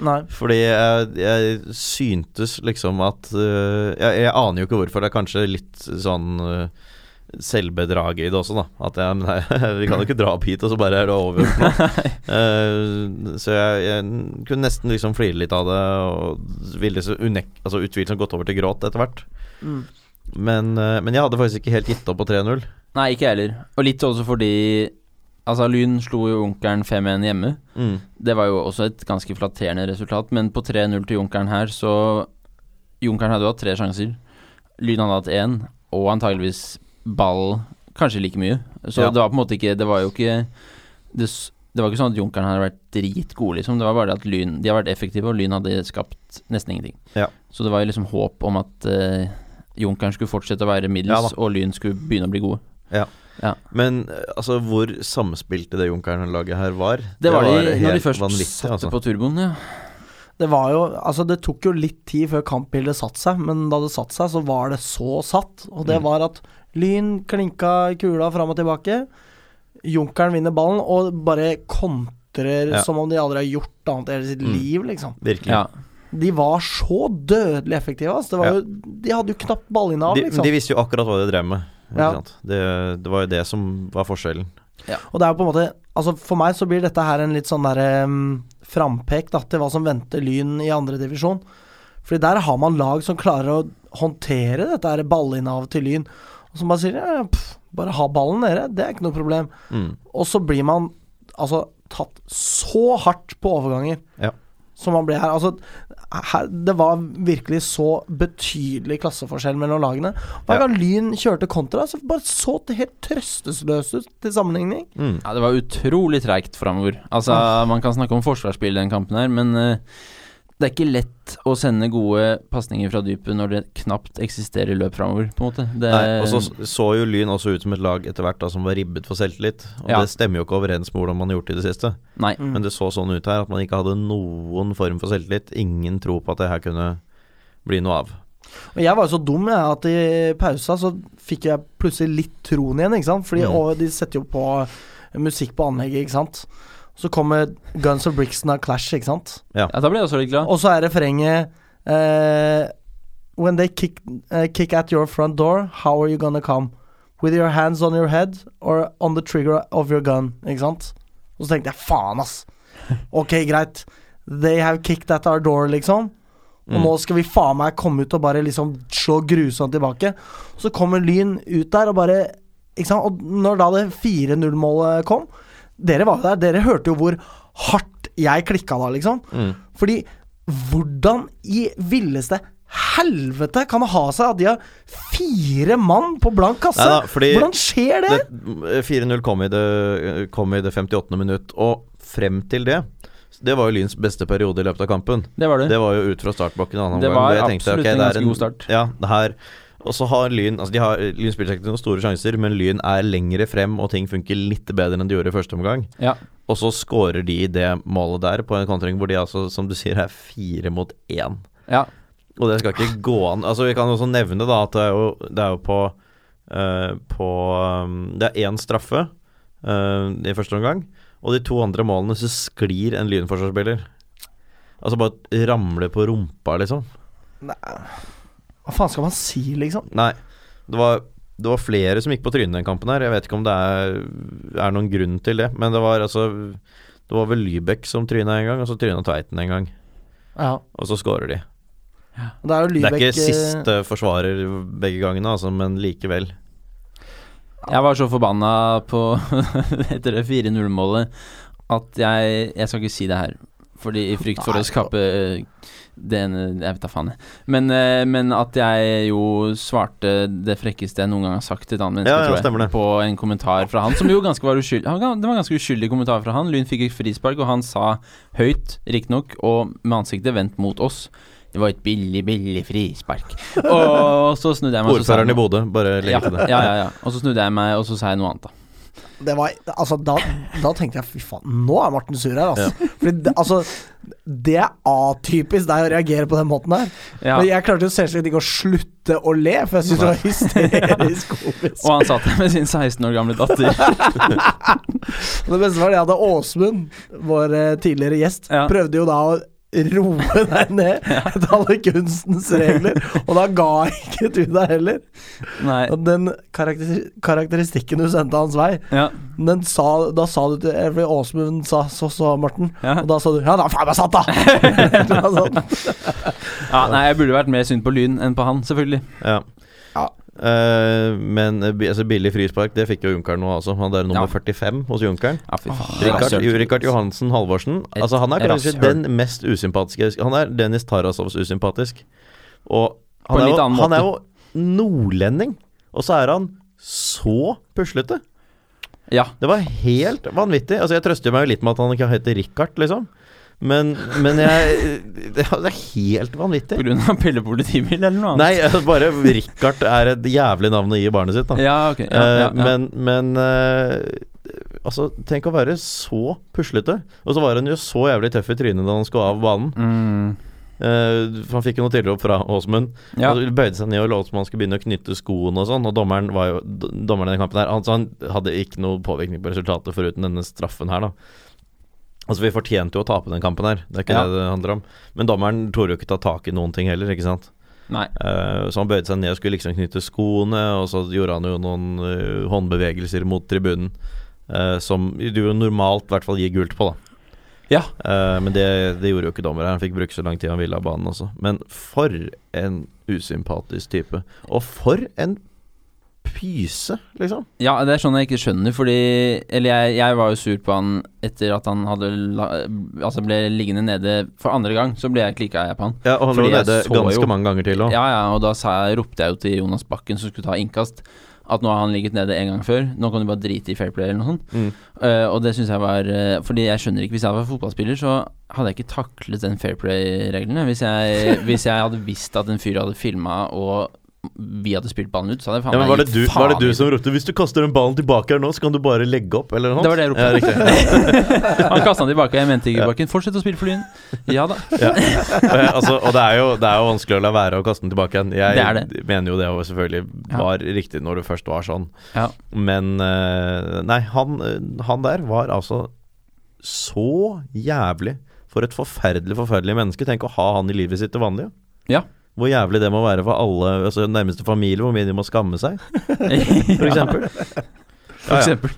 S1: Nei.
S2: Fordi jeg, jeg syntes liksom at øh, jeg, jeg aner jo ikke hvorfor. Det er kanskje litt sånn øh, selvbedrag i det også, da. At jeg, nei, [laughs] vi kan jo ikke dra opp hit, og så bare er det over.
S3: [laughs]
S2: nå. Eh, så jeg, jeg kunne nesten liksom flire litt av det, og ville så unek altså utvilsomt gått over til gråt etter hvert.
S1: Mm.
S2: Men, øh, men jeg hadde faktisk ikke helt gitt opp på 3-0.
S3: Nei, ikke jeg heller. Og litt også fordi Altså, Lyn slo jo Junkeren 5-1 hjemme.
S2: Mm.
S3: Det var jo også et ganske flatterende resultat, men på 3-0 til Junkeren her, så Junkeren hadde jo hatt tre sjanser. Lyn hadde hatt én, og antageligvis ball kanskje like mye. Så
S2: Ja.
S3: det var på en måte ikke Det var jo ikke det, s- det var ikke sånn at Junkeren hadde vært dritgode, liksom. Det var bare det at Lyn De har vært effektive, og Lyn hadde skapt nesten ingenting.
S2: Ja.
S3: Så det var jo liksom håp om at eh, Junkeren skulle fortsette å være
S2: Ja
S3: middels, og Lyn skulle begynne å bli gode.
S2: Men øh, altså, hvor samspilte det Junkeren-laget her var
S3: Det var, de når de
S2: helt
S3: først
S2: vanvittig,
S3: satte
S2: altså.
S3: på turboen, ja.
S1: Det var jo Altså, det tok jo litt tid før kampbildet satte seg, men da det satte seg, så var det så satt. Og det
S2: Mm.
S1: var at Lyn klinka i kula fram og tilbake. Junkeren vinner ballen og bare kontrer
S2: Ja.
S1: som om de aldri har gjort annet i hele sitt
S2: Mm.
S1: liv, liksom.
S2: Virkelig.
S3: ja.
S1: De var så dødelig effektive, altså. Det var
S2: Ja.
S1: jo, de hadde jo knapt ballinnav,
S2: de,
S1: liksom.
S2: de visste jo akkurat hva de drev med. Ikke
S1: Ja.
S2: sant? Det, det var jo det som var forskjellen.
S1: Og det er jo på en måte Altså For meg så blir dette her en litt sånn derre um, frampek da, til hva som venter Lyn i andredivisjon. Fordi der har man lag som klarer å håndtere dette her ballinnehavet til Lyn. Og som bare sier ja, ja, pff, bare ha ballen nede, det er ikke noe problem.
S2: Mm.
S1: Og så blir man altså tatt så hardt på overganger
S2: Ja.
S1: som man ble her. Altså her, Det var virkelig så betydelig klasseforskjell mellom lagene. Hver
S2: Ja.
S1: gang Lyn kjørte kontra, så bare så det helt trøstesløst ut til sammenligning.
S2: Mm.
S3: Ja, det var utrolig treigt framover. Altså, man kan snakke om forsvarsspill i den kampen her, men eh, det er ikke lett å sende gode pasninger fra dypet når det knapt eksisterer løp framover, på en måte. Det,
S2: Nei, og så så jo Lyn også ut som et lag etter hvert da, som var ribbet for selvtillit. Og
S3: Ja.
S2: det stemmer jo ikke overens med hvordan man har gjort i det siste.
S3: nei.
S1: Mm.
S2: Men det så sånn ut her at man ikke hadde noen form for selvtillit. Ingen tro på at det her kunne bli noe av.
S1: Og jeg var jo så dum jeg, at i pausa så fikk jeg plutselig litt troen igjen, ikke sant. Fordi
S2: Mm.
S1: og de setter jo på musikk på anlegget, ikke sant. Så kommer Guns of Brixton av Clash, ikke sant.
S3: Ja, da ble jeg også litt glad.
S1: Og så er refrenget eh, When they kick, eh, kick at your front door, how are you gonna come? With your hands on your head or on the trigger of your gun. Ikke sant? Og så tenkte jeg faen, ass. Ok, greit. They have kicked at our door, liksom.
S2: Mm.
S1: Og nå skal vi faen meg komme ut og bare liksom slå grusomt tilbake. Så kommer Lyn ut der og bare Ikke sant? Og når da det 4-0-målet kom Dere var jo der. Dere hørte jo hvor hardt jeg klikka da, liksom.
S2: Mm.
S1: Fordi hvordan i villeste helvete kan det ha seg at de har fire mann på blank kasse?
S2: Neida, fordi-
S1: hvordan skjer det?
S2: Det- 4-0 kom, i det- eh, kom i det 58. minutt, og frem til det Det var jo Lyns beste periode i løpet av kampen.
S3: Det var det.
S2: Det var jo ut fra startblokken. en annen
S3: Det
S2: omgang,
S3: var
S2: og jeg tenkte,
S3: absolutt
S2: ok,
S3: en
S2: det er
S3: ganske god start.
S2: Ja, det her Og så har Lyn altså de har, Lyn spiller seg ikke til noen store sjanser, men Lyn er lengre frem, og ting funker litt bedre enn de gjorde i første omgang.
S3: Ja.
S2: Og så scorer de i det målet der, på en kontring hvor de altså, som du sier, er fire mot én.
S3: ja.
S2: Og det skal ikke gå an. Altså Vi kan også nevne da at det er jo, det er jo på, eh, på um, Det er én straffe eh, i første omgang, og de to andre målene så sklir en Lyn-forsvarsspiller. Altså bare ramler på rumpa, liksom.
S1: Hva faen skal man si, liksom?
S2: Nei. Det var, det var flere som gikk på trynet den kampen her. Jeg vet ikke om det er, er noen grunn til det, men det var altså Det var vel Lybekk som tryna en gang, og så tryna Tveiten en gang.
S1: Ja,
S2: Og så scorer de.
S1: det er jo
S2: Det er
S1: Lybekk
S2: ikke
S1: eh,
S2: siste forsvarer begge gangene, altså, men likevel.
S3: Jeg var så forbanna på [laughs] etter det 4-0-målet at jeg Jeg skal ikke si det her, fordi i frykt for
S1: Nei.
S3: å skape eh, det ene Jeg vet da faen, jeg. Men, eh, men at jeg jo svarte det frekkeste jeg noen gang har sagt til et annet menneske,
S2: Ja, ja,
S3: tror
S2: stemmer
S3: jeg,
S2: det.
S3: på en kommentar fra han, som jo ganske var uskyldig. Han, ga- det var en ganske uskyldig kommentar fra han. Lyn fikk et frispark, og han sa høyt, riktignok, og med ansiktet vendt mot oss Det var et billig, billig frispark.
S2: [laughs]
S3: Og så snudde jeg meg og så sa han-
S2: Ordføreren i Bodø, bare legg
S3: ja,
S2: til det.
S3: ja, ja, ja. Og så snudde jeg meg, og så sa jeg noe annet, da.
S1: Det var, altså, da, da tenkte jeg fy faen, nå er Morten sur her, altså. Fordi det, altså, det er atypisk deg å reagere på den måten her.
S3: Ja.
S1: Men jeg klarte jo selvsagt ikke å slutte å le, for jeg syntes det var hysterisk komisk.
S3: [laughs] Og han satt der med sin 16 år
S2: [laughs]
S3: gamle datter.
S1: Og det beste var det at Åsmund, vår eh, tidligere gjest,
S3: Ja.
S1: prøvde jo da å roe deg
S3: [laughs]
S1: ned etter alle kunstens regler, og da ga ikke du deg heller.
S3: Nei.
S1: Og den karakter karakteristikken du sendte hans vei,
S3: Ja.
S1: den sa, da sa du til Every Åsmund sa så så, Morten,
S3: Ja.
S1: og da sa du ja, det er faen meg sant, da! Det var sånn.
S3: ja, nei, jeg burde vært mer synd på Lyn enn på han, selvfølgelig.
S2: Ja.
S1: Ja.
S2: Eh, men eh, bi- altså, billig frispark, det fikk jo Junkeren nå også. Han er nummer
S3: Ja.
S2: 45 hos Junkeren.
S3: Ja, fy faen.
S2: Rikard,
S3: Rasshøl.
S2: Rikard Johansen Halvorsen.
S3: Et
S2: Altså Han er kanskje
S3: rasshøl.
S2: den mest usympatiske Han er Dennis Tarasovs usympatisk. Og han,
S3: På
S2: er
S3: en litt
S2: jo,
S3: annen
S2: han
S3: måte.
S2: er jo nordlending, og så er han så puslete.
S3: Ja.
S2: Det var helt vanvittig. Altså Jeg trøster meg jo litt med at han ikke heter Rikard, liksom. Men, men jeg [laughs] Det er helt vanvittig.
S3: På grunn av Pelle politibil eller noe annet?
S2: Nei, [laughs] altså, bare Richard er et jævlig navn å gi barnet sitt, da.
S3: Ja, ok. Ja, ja, ja.
S2: Eh, Men, men eh, Altså, tenk å være så puslete. Og så var han jo så jævlig tøff i trynet da han skulle av banen.
S3: mm,
S2: Eh, for han fikk jo noe tilrop fra Åsmund.
S3: ja.
S2: Og bøyde seg ned og lot som han skulle begynne å knytte skoene og sånn. Og dommeren var jo d- Dommeren i den kampen her Han, så han hadde ikke noe påvirkning på resultatet foruten denne straffen her, da. Altså Vi fortjente jo å tape den kampen her, det er ikke
S3: Ja.
S2: det det handler om. Men dommeren torde jo ikke ta tak i noen ting heller, ikke sant.
S3: Nei.
S2: Eh, Så han bøyde seg ned og skulle liksom knytte skoene, og så gjorde han jo noen eh, håndbevegelser mot tribunen. eh, som du jo normalt i hvert fall gir gult på, da.
S3: Ja.
S2: Eh, men det, det gjorde jo ikke dommer her. Han fikk bruke så lang tid han ville av banen også. Men for en usympatisk type. Og for en pyse, liksom.
S3: ja, det er sånn jeg ikke skjønner, fordi Eller jeg, jeg var jo sur på han etter at han hadde la, Altså ble liggende nede for andre gang, så ble jeg klikka jeg på han.
S2: Ja, og han
S3: Fordi
S2: lå
S3: jeg
S2: nede
S3: så
S2: ganske
S3: jo-
S2: mange ganger til òg.
S3: Ja, ja, og da sa jeg, ropte jeg jo til Jonas Bakken som skulle ta innkast. At nå har han ligget nede en gang før, nå kan du bare drite i fair play eller noe sånt.
S2: Mm.
S3: Eh, og det syns jeg var eh, Fordi jeg skjønner ikke Hvis jeg var fotballspiller, så hadde jeg ikke taklet den fair play-reglene. Hvis,
S2: [laughs]
S3: jeg- hvis jeg hadde visst at en fyr hadde filma og vi hadde spilt ballen ut, så hadde jeg faen
S2: Ja, men
S3: meg
S2: var det,
S3: gitt
S2: du, var det
S3: faen
S2: du
S3: i
S2: som ropte 'hvis du kaster den ballen tilbake her nå, så kan du bare legge opp', eller noe?
S3: Det var det
S2: Ja,
S3: jeg [laughs] ropte.
S2: riktig.
S3: Han kasta den tilbake, og jeg mente ikke bakken. Fortsett å spille for Lyn. Ja da.
S2: Eh, altså, og det er, jo, det er jo vanskelig å la være å kaste den tilbake igjen. Jeg
S3: Det er det.
S2: mener jo det og selvfølgelig
S3: Ja.
S2: var riktig når det først var sånn.
S3: Ja.
S2: Men eh, nei, han, eh, han der var altså så jævlig For et forferdelig, forferdelig menneske. Tenk å ha han i livet sitt til vanlig.
S3: Ja.
S2: Hvor jævlig det må være for alle altså, nærmeste familie, hvor mye de må skamme seg, for
S3: [laughs]
S2: eksempel.
S3: For eksempel.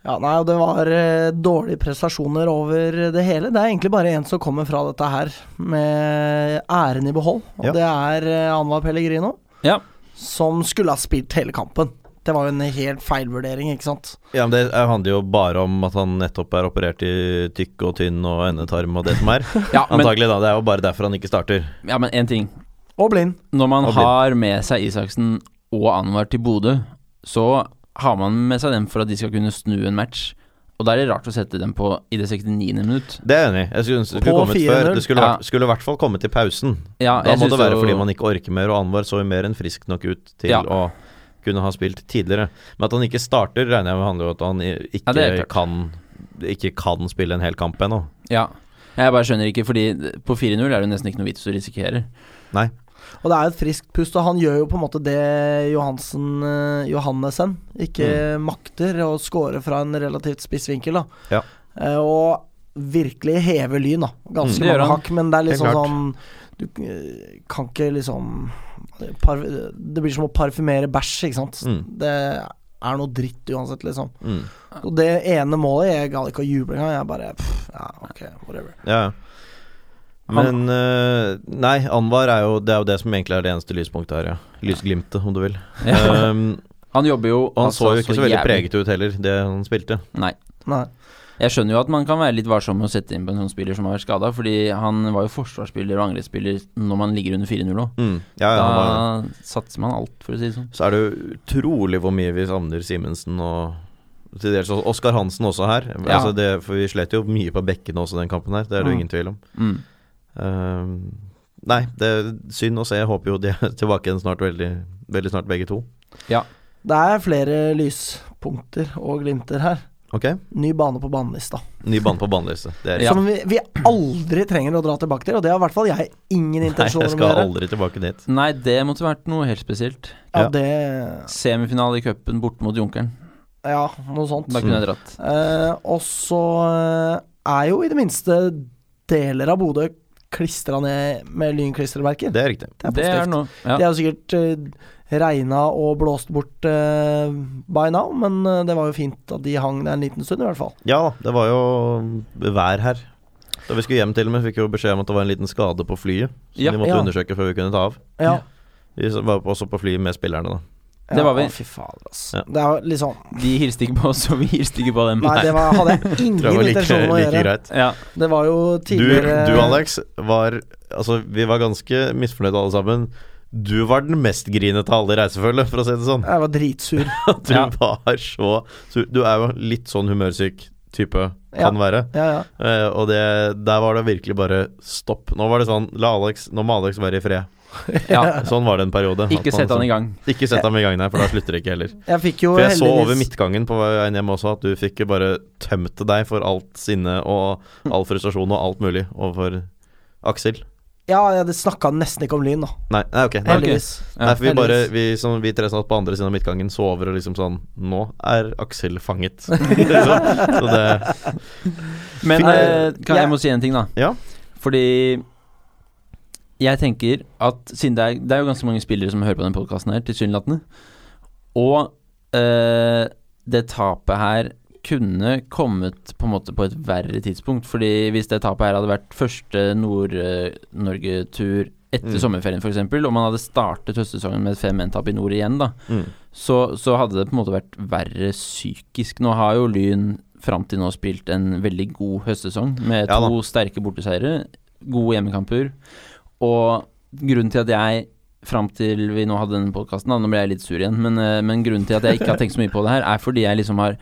S1: Ja, nei, og det var eh, dårlige prestasjoner over det hele. Det er egentlig bare én som kommer fra dette her med æren i behold, og
S2: Ja.
S1: det er eh, Anwar Pellegrino.
S3: Ja.
S1: Som skulle ha spilt hele kampen. Det var jo en helt feilvurdering, ikke sant.
S2: Ja, men Det eh, handler jo bare om at han nettopp er operert i tykk og tynn og endetarm og det som er.
S3: Ja, men,
S2: Antagelig da, Det er jo bare derfor han ikke starter.
S3: ja, men en ting.
S1: Og blind.
S3: Når man
S2: Og blind.
S3: har med seg Isaksen og Anwar til Bodø, så har man med seg dem for at de skal kunne snu en match. Og da er det rart å sette dem på i det 69. minutt.
S2: Det er jeg enig i. Jeg synes det
S1: På
S2: skulle kommet
S1: 4-0.
S2: før. Det skulle,
S3: Ja.
S2: vært- skulle i hvert fall kommet i pausen.
S3: Ja,
S2: Da
S3: jeg
S2: må
S3: synes
S2: det være
S3: jo-
S2: fordi man ikke orker mer, og Anwar så jo mer enn frisk nok ut til
S3: Ja.
S2: å kunne ha spilt tidligere. Men at han ikke starter, regner jeg med handler jo om at han i-
S3: Ja,
S2: ikke
S3: det er klart.
S2: kan ikke kan spille en hel kamp ennå.
S3: Ja. Jeg bare skjønner ikke, fordi på 4-0 er det jo nesten ikke noe vits å risikere.
S1: Og det er jo et friskt pust, og han gjør jo på en måte det Johansen, eh, Johannessen ikke makter, å score fra en relativt spiss vinkel. da.
S2: Mm. Ja.
S1: Eh, og virkelig heve Lyn, da.
S2: Mm.
S1: Ganske
S3: Det gjør
S1: mange
S3: han.
S1: hakk, men det er liksom
S2: Helt klart.
S1: sånn Du eh, kan ikke liksom par, Det blir som å parfymere bæsj, ikke sant.
S2: Mm.
S1: Det er noe dritt uansett, liksom.
S2: Mm.
S1: Og det ene målet Jeg gadd ikke å juble engang. Jeg bare pff, Ja, ok, whatever.
S2: Ja, ja. Men eh, Nei, Anwar er jo Det er jo det som egentlig er det eneste lyspunktet her, ja. Lysglimtet, om du vil. Um,
S3: Han jobber jo
S2: og han
S3: altså
S2: så jo ikke så veldig
S3: jævlig-
S2: preget ut heller, det han spilte.
S3: Nei.
S1: Nei.
S3: Jeg skjønner jo at man kan være litt varsom med å sette inn på en sånn spiller som har vært skada, fordi han var jo forsvarsspiller og angrepsspiller når man ligger under 4-0 òg.
S2: Mm. Ja, ja, han var, det.
S3: Da satser man alt, for å si det sånn.
S2: så er det jo utrolig hvor mye vi savner Simensen og til dels også Oskar Hansen også her.
S3: Ja.
S2: Altså det, for vi slet jo mye på bekkene også den kampen her, det er det jo
S1: Mm.
S2: ingen tvil om.
S3: Mm.
S2: Ehm, nei, det er synd å se. Jeg håper jo de er [laughs] tilbake igjen snart, veldig, veldig snart begge to.
S1: Det er flere lyspunkter og glimter her.
S2: Ok,
S1: Ny bane på banelista.
S2: ny bane på baneliste. Det er
S3: Ja.
S1: Som vi, vi aldri trenger å dra tilbake til, og det har i hvert fall jeg ingen
S2: Nei, jeg
S1: intensjoner om å
S2: skal
S1: gjøre.
S2: aldri tilbake dit.
S3: Nei, det måtte vært noe helt spesielt.
S1: Ja,
S2: ja.
S1: det
S3: Semifinale i cupen borte mot Junkeren.
S1: Ja, noe sånt.
S3: Da kunne jeg dratt.
S1: Eh, og så eh, er jo i det minste deler av Bodø klistra ned med lynklistremerker.
S2: Det er riktig.
S1: Det er
S3: Det er
S1: positivt.
S3: noe. Ja.
S1: De er jo sikkert eh, regna og blåst bort eh, by now, men eh, det var jo fint at de hang der en liten stund, i hvert fall.
S2: Ja da, det var jo vær her. Da vi skulle hjem til og med, fikk vi jo beskjed om at det var en liten skade på flyet. Som
S3: Ja.
S2: de måtte
S1: Ja.
S2: undersøke før vi kunne ta av.
S1: Ja,
S2: Vi var også på flyet med spillerne, da.
S3: Det var vi.
S1: Ja, å, fy fader, altså.
S2: Ja.
S1: Det er jo liksom
S3: De hilste ikke på oss, og vi hilste ikke på dem.
S1: Nei, det var, hadde jeg ingen
S2: [laughs] Tror jeg var like,
S1: intensjon om å
S2: like
S1: gjøre.
S2: greit.
S3: Ja.
S1: Det var jo
S2: Du,
S1: tidligere
S2: du, Alex, var Altså, vi var ganske misfornøyde alle sammen. Du var den mest grinete av alle i reisefølget, for å si det sånn.
S1: Jeg var dritsur.
S2: [laughs] At du
S3: Ja.
S2: var så så Du er jo litt sånn humørsyk type,
S1: Ja.
S2: kan være.
S1: Ja, ja.
S2: Eh, og det, der var det virkelig bare stopp. Nå var det sånn la Alex, Nå må Alex være i fred.
S1: [laughs]
S3: ja.
S2: Sånn var det en periode.
S3: Ikke
S2: At man
S3: sett han i
S2: liksom-
S3: gang.
S2: Ikke sett ham i gang, nei, for da slutter det ikke heller.
S1: Jeg fikk jo
S2: For jeg så
S1: heldigvis-
S2: over midtgangen på veien hjem også at du fikk bare tømt deg for alt sinne og all frustrasjon og alt mulig overfor Aksel.
S1: Ja, jeg snakka nesten ikke om Lyn, da.
S2: Nei, nei ok. Nei,
S1: Heldigvis.
S3: Ja,
S2: nei, for vi, bare,
S1: heldigvis.
S2: vi, som vi tre satt på andre siden av midtgangen, så over og liksom sånn Nå er Aksel fanget. [laughs] liksom. Så det
S3: Men
S2: Fikk-
S3: eh, kan,
S1: Jeg-
S3: jeg må si en ting, da.
S2: Ja.
S3: Fordi jeg tenker at siden det er, det er jo ganske mange spillere som hører på den podkasten her, tilsynelatende. Og eh, det tapet her kunne kommet på en måte på et verre tidspunkt. Fordi hvis det tapet her hadde vært første Nord-Norge-tur etter
S2: Mm.
S3: sommerferien f.eks., og man hadde startet høstsesongen med et 5-1-tap i nord igjen, da,
S2: mm,
S3: så, så hadde det på en måte vært verre psykisk. Nå har jo Lyn fram til nå spilt en veldig god høstsesong med
S2: Ja da.
S3: to sterke borteseiere, gode hjemmekamper. Og grunnen til at jeg fram til vi nå hadde denne podkasten, nå ble jeg litt sur igjen, men, eh, men grunnen til at jeg ikke har tenkt så mye på det her, er fordi jeg liksom har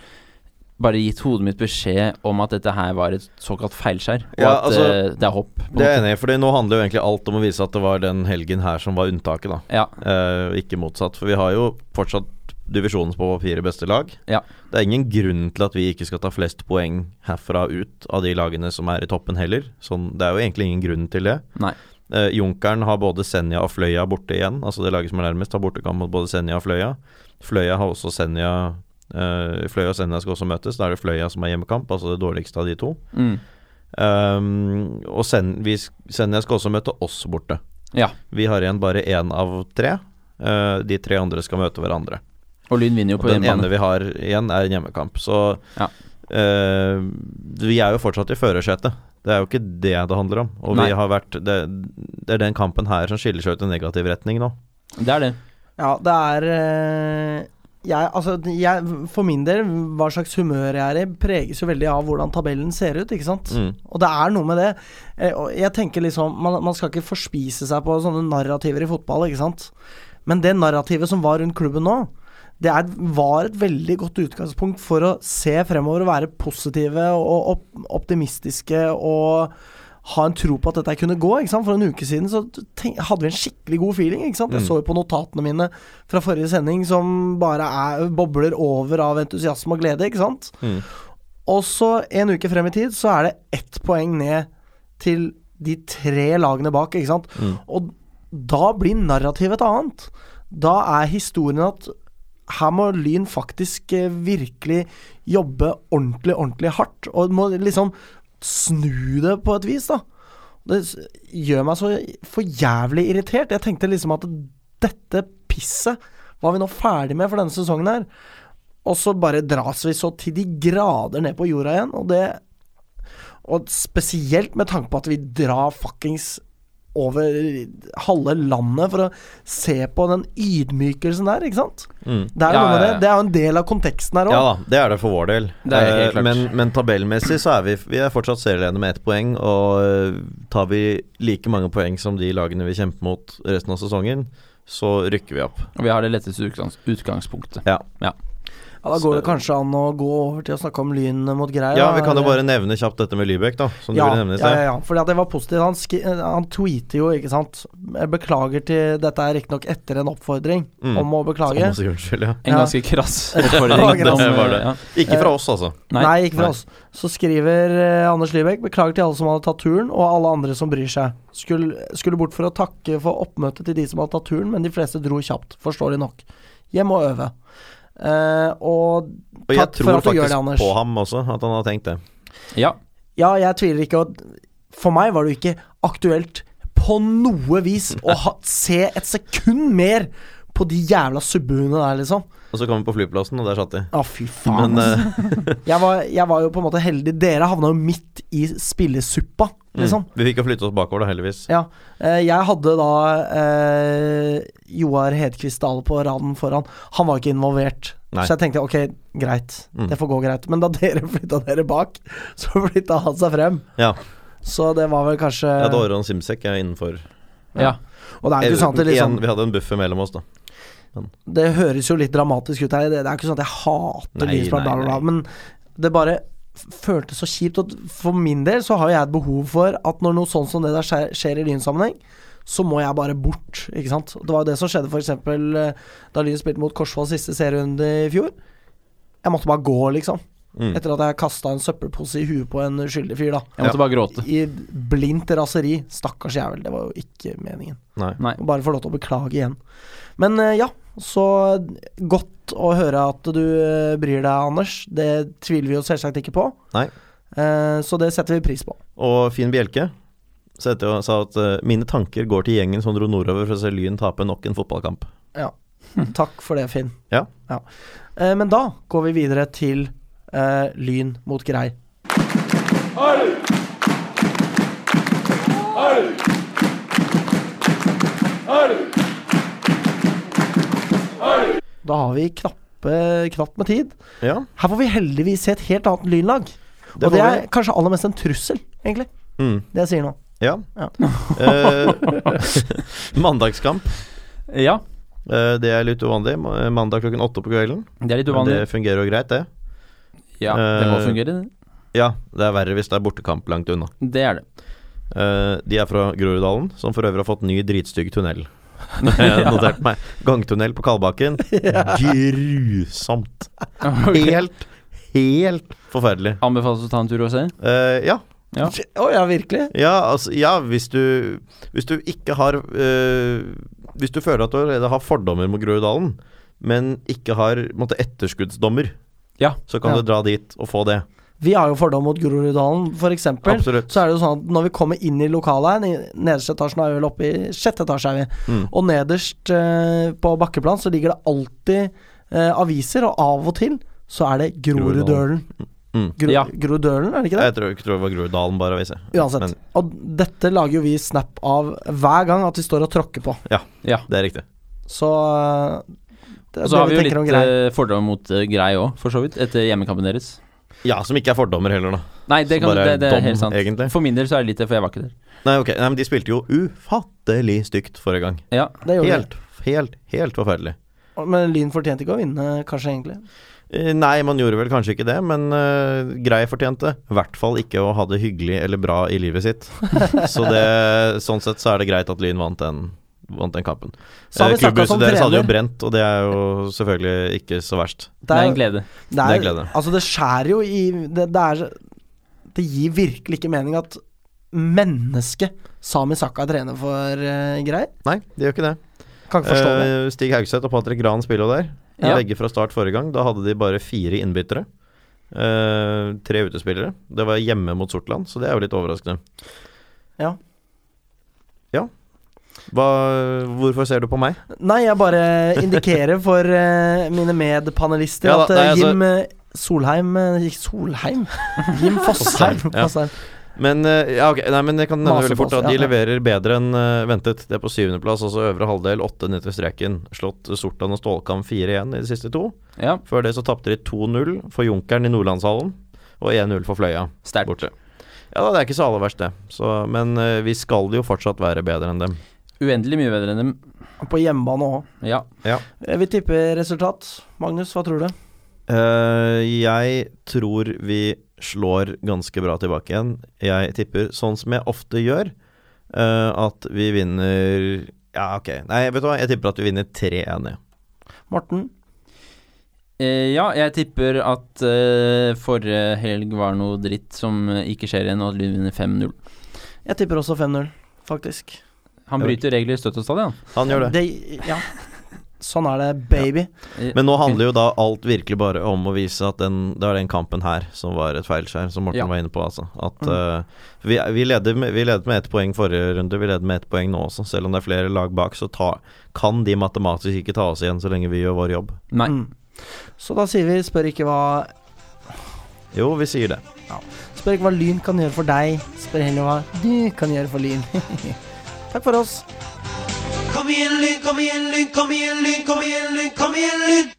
S3: bare gitt hodet mitt beskjed om at dette her var et såkalt feilskjær, og
S2: Ja,
S3: at
S2: altså,
S3: eh, det er hopp. på en
S2: Det er
S3: måte.
S2: jeg enig i, for nå handler jo egentlig alt om å vise at det var den helgen her som var unntaket, da.
S3: Ja,
S2: Eh, ikke motsatt. For vi har jo fortsatt divisjonen på papiret beste lag.
S3: Ja.
S2: Det er ingen grunn til at vi ikke skal ta flest poeng herfra ut av de lagene som er i toppen heller. Sånn, det er jo egentlig ingen grunn til det.
S3: Nei.
S2: Eh, Junkeren har både Senja og Fløya borte igjen. Altså det laget som er nærmest, har bortekamp mot både Senja og Fløya. Fløya har også Senja eh, Fløya og Senja skal også møtes. Da er det Fløya som er hjemmekamp, altså det dårligste av de to.
S3: mm,
S2: Um, og Sen vi, Senja skal også møte oss borte.
S3: ja.
S2: Vi har igjen bare én av tre. Eh, de tre andre skal møte hverandre.
S3: Og Lyn vinner jo
S2: Og
S3: på
S2: den ene
S3: hjemmebane.
S2: vi har igjen, er en hjemmekamp. Så
S3: Ja.
S2: eh, vi er jo fortsatt i førersetet. Det er jo ikke det det handler om. Og
S3: Nei.
S2: vi har vært det, det er den kampen her som skiller seg ut i negativ retning nå.
S3: Det er det.
S1: Ja, det er eh, jeg, altså, jeg, For min del, hva slags humør jeg er i, preges jo veldig av hvordan tabellen ser ut, ikke sant?
S2: Mm.
S1: Og det er noe med det. Eh, og Jeg tenker liksom man, man skal ikke forspise seg på sånne narrativer i fotball, ikke sant? Men det narrativet som var rundt klubben nå, det er, var et veldig godt utgangspunkt for å se fremover og være positive og opp, optimistiske og ha en tro på at dette kunne gå. ikke sant? For en uke siden så tenk, hadde vi en skikkelig god feeling. ikke sant? Jeg så jo på notatene mine fra forrige sending som bare er, bobler over av entusiasme og glede. ikke sant? Og så en uke frem i tid så er det ett poeng ned til de tre lagene bak, ikke sant. Og da blir narrativet et annet. Da er historien at her må Lyn faktisk eh, virkelig jobbe ordentlig, ordentlig hardt. Og må liksom snu det på et vis, da. Det s- gjør meg så for jævlig irritert. Jeg tenkte liksom at dette pisset var vi nå ferdig med for denne sesongen her. Og så bare dras vi så til de grader ned på jorda igjen, og det Og spesielt med tanke på at vi drar fuckings over halve landet for å se på den ydmykelsen der, ikke sant?
S2: Mm.
S1: Det er jo
S3: Ja,
S1: noe med
S3: ja,
S1: det.
S3: ja.
S1: Det er jo en del av konteksten her òg.
S2: Ja da, det er det for vår del.
S3: Det er helt
S2: Eh,
S3: klart.
S2: men, men tabellmessig så er vi Vi er fortsatt serieledende med ett poeng, og eh, tar vi like mange poeng som de lagene vi kjemper mot resten av sesongen, så rykker vi opp.
S3: Og vi har det letteste utgangs utgangspunktet.
S2: Ja.
S1: Ja, da går det kanskje an å gå over til å snakke om Lyn mot Greia.
S2: Ja, vi kan jo
S1: eller-
S2: bare nevne kjapt dette med Lybekk, da. Som du
S1: ja,
S2: ville nevne i
S1: ja, ja,
S2: sted.
S1: ja, fordi at det var positivt. Han, skri- han tweeter jo, ikke sant. Jeg beklager til Dette er riktignok etter en oppfordring
S2: Mm.
S1: om å beklage.
S2: Samme sekund, unnskyld, [laughs] ja.
S3: En
S1: Ja.
S3: ganske krass oppfordring.
S1: Det var
S2: krass.
S3: om,
S2: Var det.
S3: ja.
S2: Ikke fra oss, altså.
S1: Nei,
S3: Nei.
S1: ikke fra
S2: Nei.
S1: oss. Så skriver eh, Anders Lybekk beklager til alle som hadde tatt turen, og alle andre som bryr seg. Skulle, skulle bort for å takke for oppmøtet til de som hadde tatt turen, men de fleste dro kjapt. Forståelig nok. Hjem og øve. Eh, og
S2: Og jeg
S1: Takk for
S2: tror
S1: at du gjør det,
S2: faktisk
S1: Anders.
S2: på ham også, at han har tenkt det.
S3: Ja.
S1: Ja, jeg tviler ikke. Og for meg var det jo ikke aktuelt på noe
S2: [laughs]
S1: vis å ha, se et sekund mer på de jævla subbuene der, liksom.
S2: Og så kom vi på flyplassen, og der satt de.
S1: Å, fy faen. altså.
S2: Men eh,
S1: jeg, var, jeg var jo på en måte heldig. Dere havna jo midt i spillesuppa,
S2: Mm.
S1: liksom.
S2: vi fikk jo flytte oss bakover, da, heldigvis.
S1: Ja. eh, Jeg hadde da eh, Joar Hedquist Dahl på raden foran. Han var ikke involvert.
S2: Nei.
S1: Så jeg tenkte ok, greit. Det får gå greit. Men da [laughs] dere flytta dere bak, så flytta han seg frem.
S2: Ja.
S1: Så det var vel kanskje
S2: Jeg hadde Oran Simsek jeg, innenfor.
S3: ja.
S1: Og det er jo ikke sånn at det
S2: Igjen,
S1: liksom
S2: vi hadde en buffer mellom oss, da.
S1: Det høres jo litt dramatisk ut her. Det, det er ikke sånn at jeg hater
S2: Nei,
S1: Lynsborg, bla,
S2: nei,
S1: bla, bla. Men det bare f- føltes så kjipt. Og for min del så har jo jeg et behov for at når noe sånt som det der skjer, skjer i lynsammenheng, så må jeg bare bort, ikke sant. Det var jo det som skjedde f.eks. da Lyn spilte mot Korsvoll siste serierunde i fjor. Jeg måtte bare gå, liksom.
S2: Mm.
S1: Etter at jeg kasta en søppelpose i huet på en uskyldig fyr, da.
S3: Jeg måtte bare gråte.
S1: I blindt raseri. Stakkars jævel, det var jo ikke meningen.
S2: Nei.
S3: Nei.
S1: Og bare få lov til å beklage igjen. Men eh, ja, så godt å høre at du eh, bryr deg, Anders. Det tviler vi jo selvsagt ikke på.
S2: Nei.
S1: Eh, Så det setter vi pris på.
S2: Og Finn Bjelke sette og sa at eh, mine tanker går til gjengen som dro nordover for å se Lyn tape nok en fotballkamp.
S1: Ja. Takk for det, Finn.
S2: Ja.
S1: Eh, Men da går vi videre til eh, Lyn mot Grei. Da har vi knappe, knapt med tid.
S2: Ja.
S1: Her får vi heldigvis se et helt annet lynlag.
S2: Det
S1: og det
S2: får
S1: er
S2: vi.
S1: kanskje aller mest en trussel, egentlig.
S2: Mm.
S1: Det jeg sier nå.
S2: Ja.
S1: Ja.
S2: Eh, [laughs] mandagskamp.
S3: Ja,
S2: Eh, Det er litt uvanlig. Ma- eh, Mandag klokken åtte på kvelden.
S3: det er litt
S2: Men
S3: uvanlig.
S2: Det fungerer jo greit, det.
S3: ja, det må
S2: eh,
S3: fungere, det.
S2: Ja, det er verre hvis det er bortekamp langt unna.
S3: Det er det.
S2: Eh, de er fra Groruddalen, som for øvrig har fått ny dritstygg
S1: [laughs]
S2: tunnel. [laughs] Det har jeg notert meg. Gangtunnel på Kalbakken.
S1: [laughs]
S2: Grusomt. Helt, helt forferdelig.
S3: Anbefales å ta en tur og se.
S2: Eh, ja.
S3: Ja.
S1: Å ja, virkelig?
S2: Ja, altså, ja hvis, du, hvis du ikke har eh, Hvis du føler at du allerede har fordommer mot Groruddalen, men ikke har på en måte, etterskuddsdommer,
S3: Ja.
S2: så kan
S1: Ja.
S2: du dra dit og få det.
S1: Vi har jo fordom mot Groruddalen, f.eks.
S2: Absolutt.
S1: Så er det jo sånn at når vi kommer inn i lokalet her, i nederste etasjen er vi vel oppe i sjette etasje, er vi.
S2: Mm.
S1: Og nederst eh, på bakkeplan så ligger det alltid eh, aviser, og av og til så er det Groruddølen.
S2: Mm.
S1: Gro
S3: Ja.
S1: Groruddølen, er det ikke det?
S2: Jeg tror, jeg tror det var Groruddalen, bare. Hvis jeg.
S1: Uansett.
S2: Men
S1: Og dette lager jo vi snap av hver gang at vi står og tråkker på.
S3: ja.
S2: det er riktig.
S1: Så eh, det
S3: Og
S1: er
S3: så
S1: det
S3: har vi
S1: vi
S3: jo
S1: tenker om
S3: litt
S1: greier.
S3: eh, fordommer mot eh, Grei òg, for så vidt, etter hjemmekampen deres.
S2: Ja, som ikke er fordommer heller, da.
S3: Nei, det,
S2: Som
S3: kan,
S2: bare
S3: det,
S2: er
S3: det er
S2: dom,
S3: helt sant.
S2: egentlig.
S3: For min del så er det litt det, for jeg var ikke der.
S2: Nei, ok, Nei, men de spilte jo ufattelig stygt forrige gang.
S3: Ja,
S1: Det gjorde
S2: Helt, helt, helt forferdelig.
S1: vi. Men Lyn fortjente ikke å vinne, kanskje, egentlig.
S2: Eh, Nei, man gjorde vel kanskje ikke det, men uh, grei fortjente. I hvert fall ikke å ha det hyggelig eller bra i livet
S1: [laughs]
S2: sitt. så det, sånn sett så er det greit at Lyn vant den, vant den kampen.
S1: Så har
S2: Eh,
S1: vi snakket
S2: Klubbhuset
S1: som
S2: deres hadde jo
S1: trener.
S2: brent, og det er jo selvfølgelig ikke så verst.
S3: det er en glede.
S1: Det,
S2: Det
S1: er,
S2: gleder jeg.
S1: Altså, det skjærer jo i det, det er Det gir virkelig ikke mening at mennesket Sami Saka er trener for uh, greier.
S2: Nei, det gjør ikke det.
S1: Kan ikke forstå det.
S2: Eh, Stig Haugseth og Patrick Gran spiller jo der.
S3: Ja.
S2: Begge fra start forrige gang. Da hadde de bare fire innbyttere. Eh, tre utespillere. Det var hjemme mot Sortland, så det er jo litt overraskende.
S1: Ja.
S2: Ja. Hva, hvorfor ser du på meg?
S1: Nei, jeg bare indikerer for eh, mine medpanelister
S2: Ja da,
S1: at eh,
S2: nei, altså-
S1: Jim eh, Solheim eh, ikke Solheim? [laughs] Jim Fossheim.
S2: Fossheim, ja.
S1: Fossheim.
S2: Men eh, ja, ok, nei, men jeg kan nevne
S1: Maser
S2: veldig fort
S1: på oss,
S2: at de
S1: ja.
S2: leverer bedre enn eh, ventet. Det er på syvendeplass, altså øvre halvdel, åtte ned til streken. Slått Sortland og Stålkam 4-1 i de siste to.
S3: Ja,
S2: Før det så tapte de 2-0 for Junkeren i Nordlandshallen, og 1-0 for Fløya.
S3: sterkt.
S2: borte. Ja da, det er ikke så aller verst, det. Så, men eh, vi skal jo fortsatt være bedre enn dem.
S3: Uendelig mye bedre enn dem.
S1: På hjemmebane òg.
S3: Ja.
S1: Vi tipper resultat. Magnus, hva tror du?
S2: Eh, jeg tror vi slår ganske bra tilbake igjen. Jeg tipper, sånn som jeg ofte gjør, eh, at vi vinner Ja, ok. Nei, vet du hva, jeg tipper at vi vinner 3-1. jeg.
S1: Morten?
S3: Eh, ja, jeg tipper at eh, forrige helg var noe dritt som eh, ikke skjer igjen, og at Lyn vinner 5-0.
S1: Jeg tipper også 5-0, faktisk.
S3: Han
S2: Ja vel.
S3: bryter regler støtt og stadig, han.
S2: Han gjør det.
S1: ja. Sånn er det, baby.
S3: Eh,
S2: Men nå handler jo da alt virkelig bare om å vise at den, det var den kampen her som var et feilskjær, som Morten
S3: Ja.
S2: var inne på, altså. At eh, vi, vi, leder med, vi leder med ett poeng forrige runde, vi leder med ett poeng nå også. Selv om det er flere lag bak, så ta, kan de matematisk ikke ta oss igjen så lenge vi gjør vår jobb.
S3: Nei.
S1: Mm. Så da sier vi spør ikke hva
S2: Jo, vi sier det.
S1: Spør ikke hva Lyn kan gjøre for deg, spør heller hva du kan gjøre for Lyn. [laughs] Takk for oss.
S6: Kom igjen, Lyn, kom igjen, Lyn, kom igjen, Lyn, kom igjen, Lyn, kom igjen, Lyn!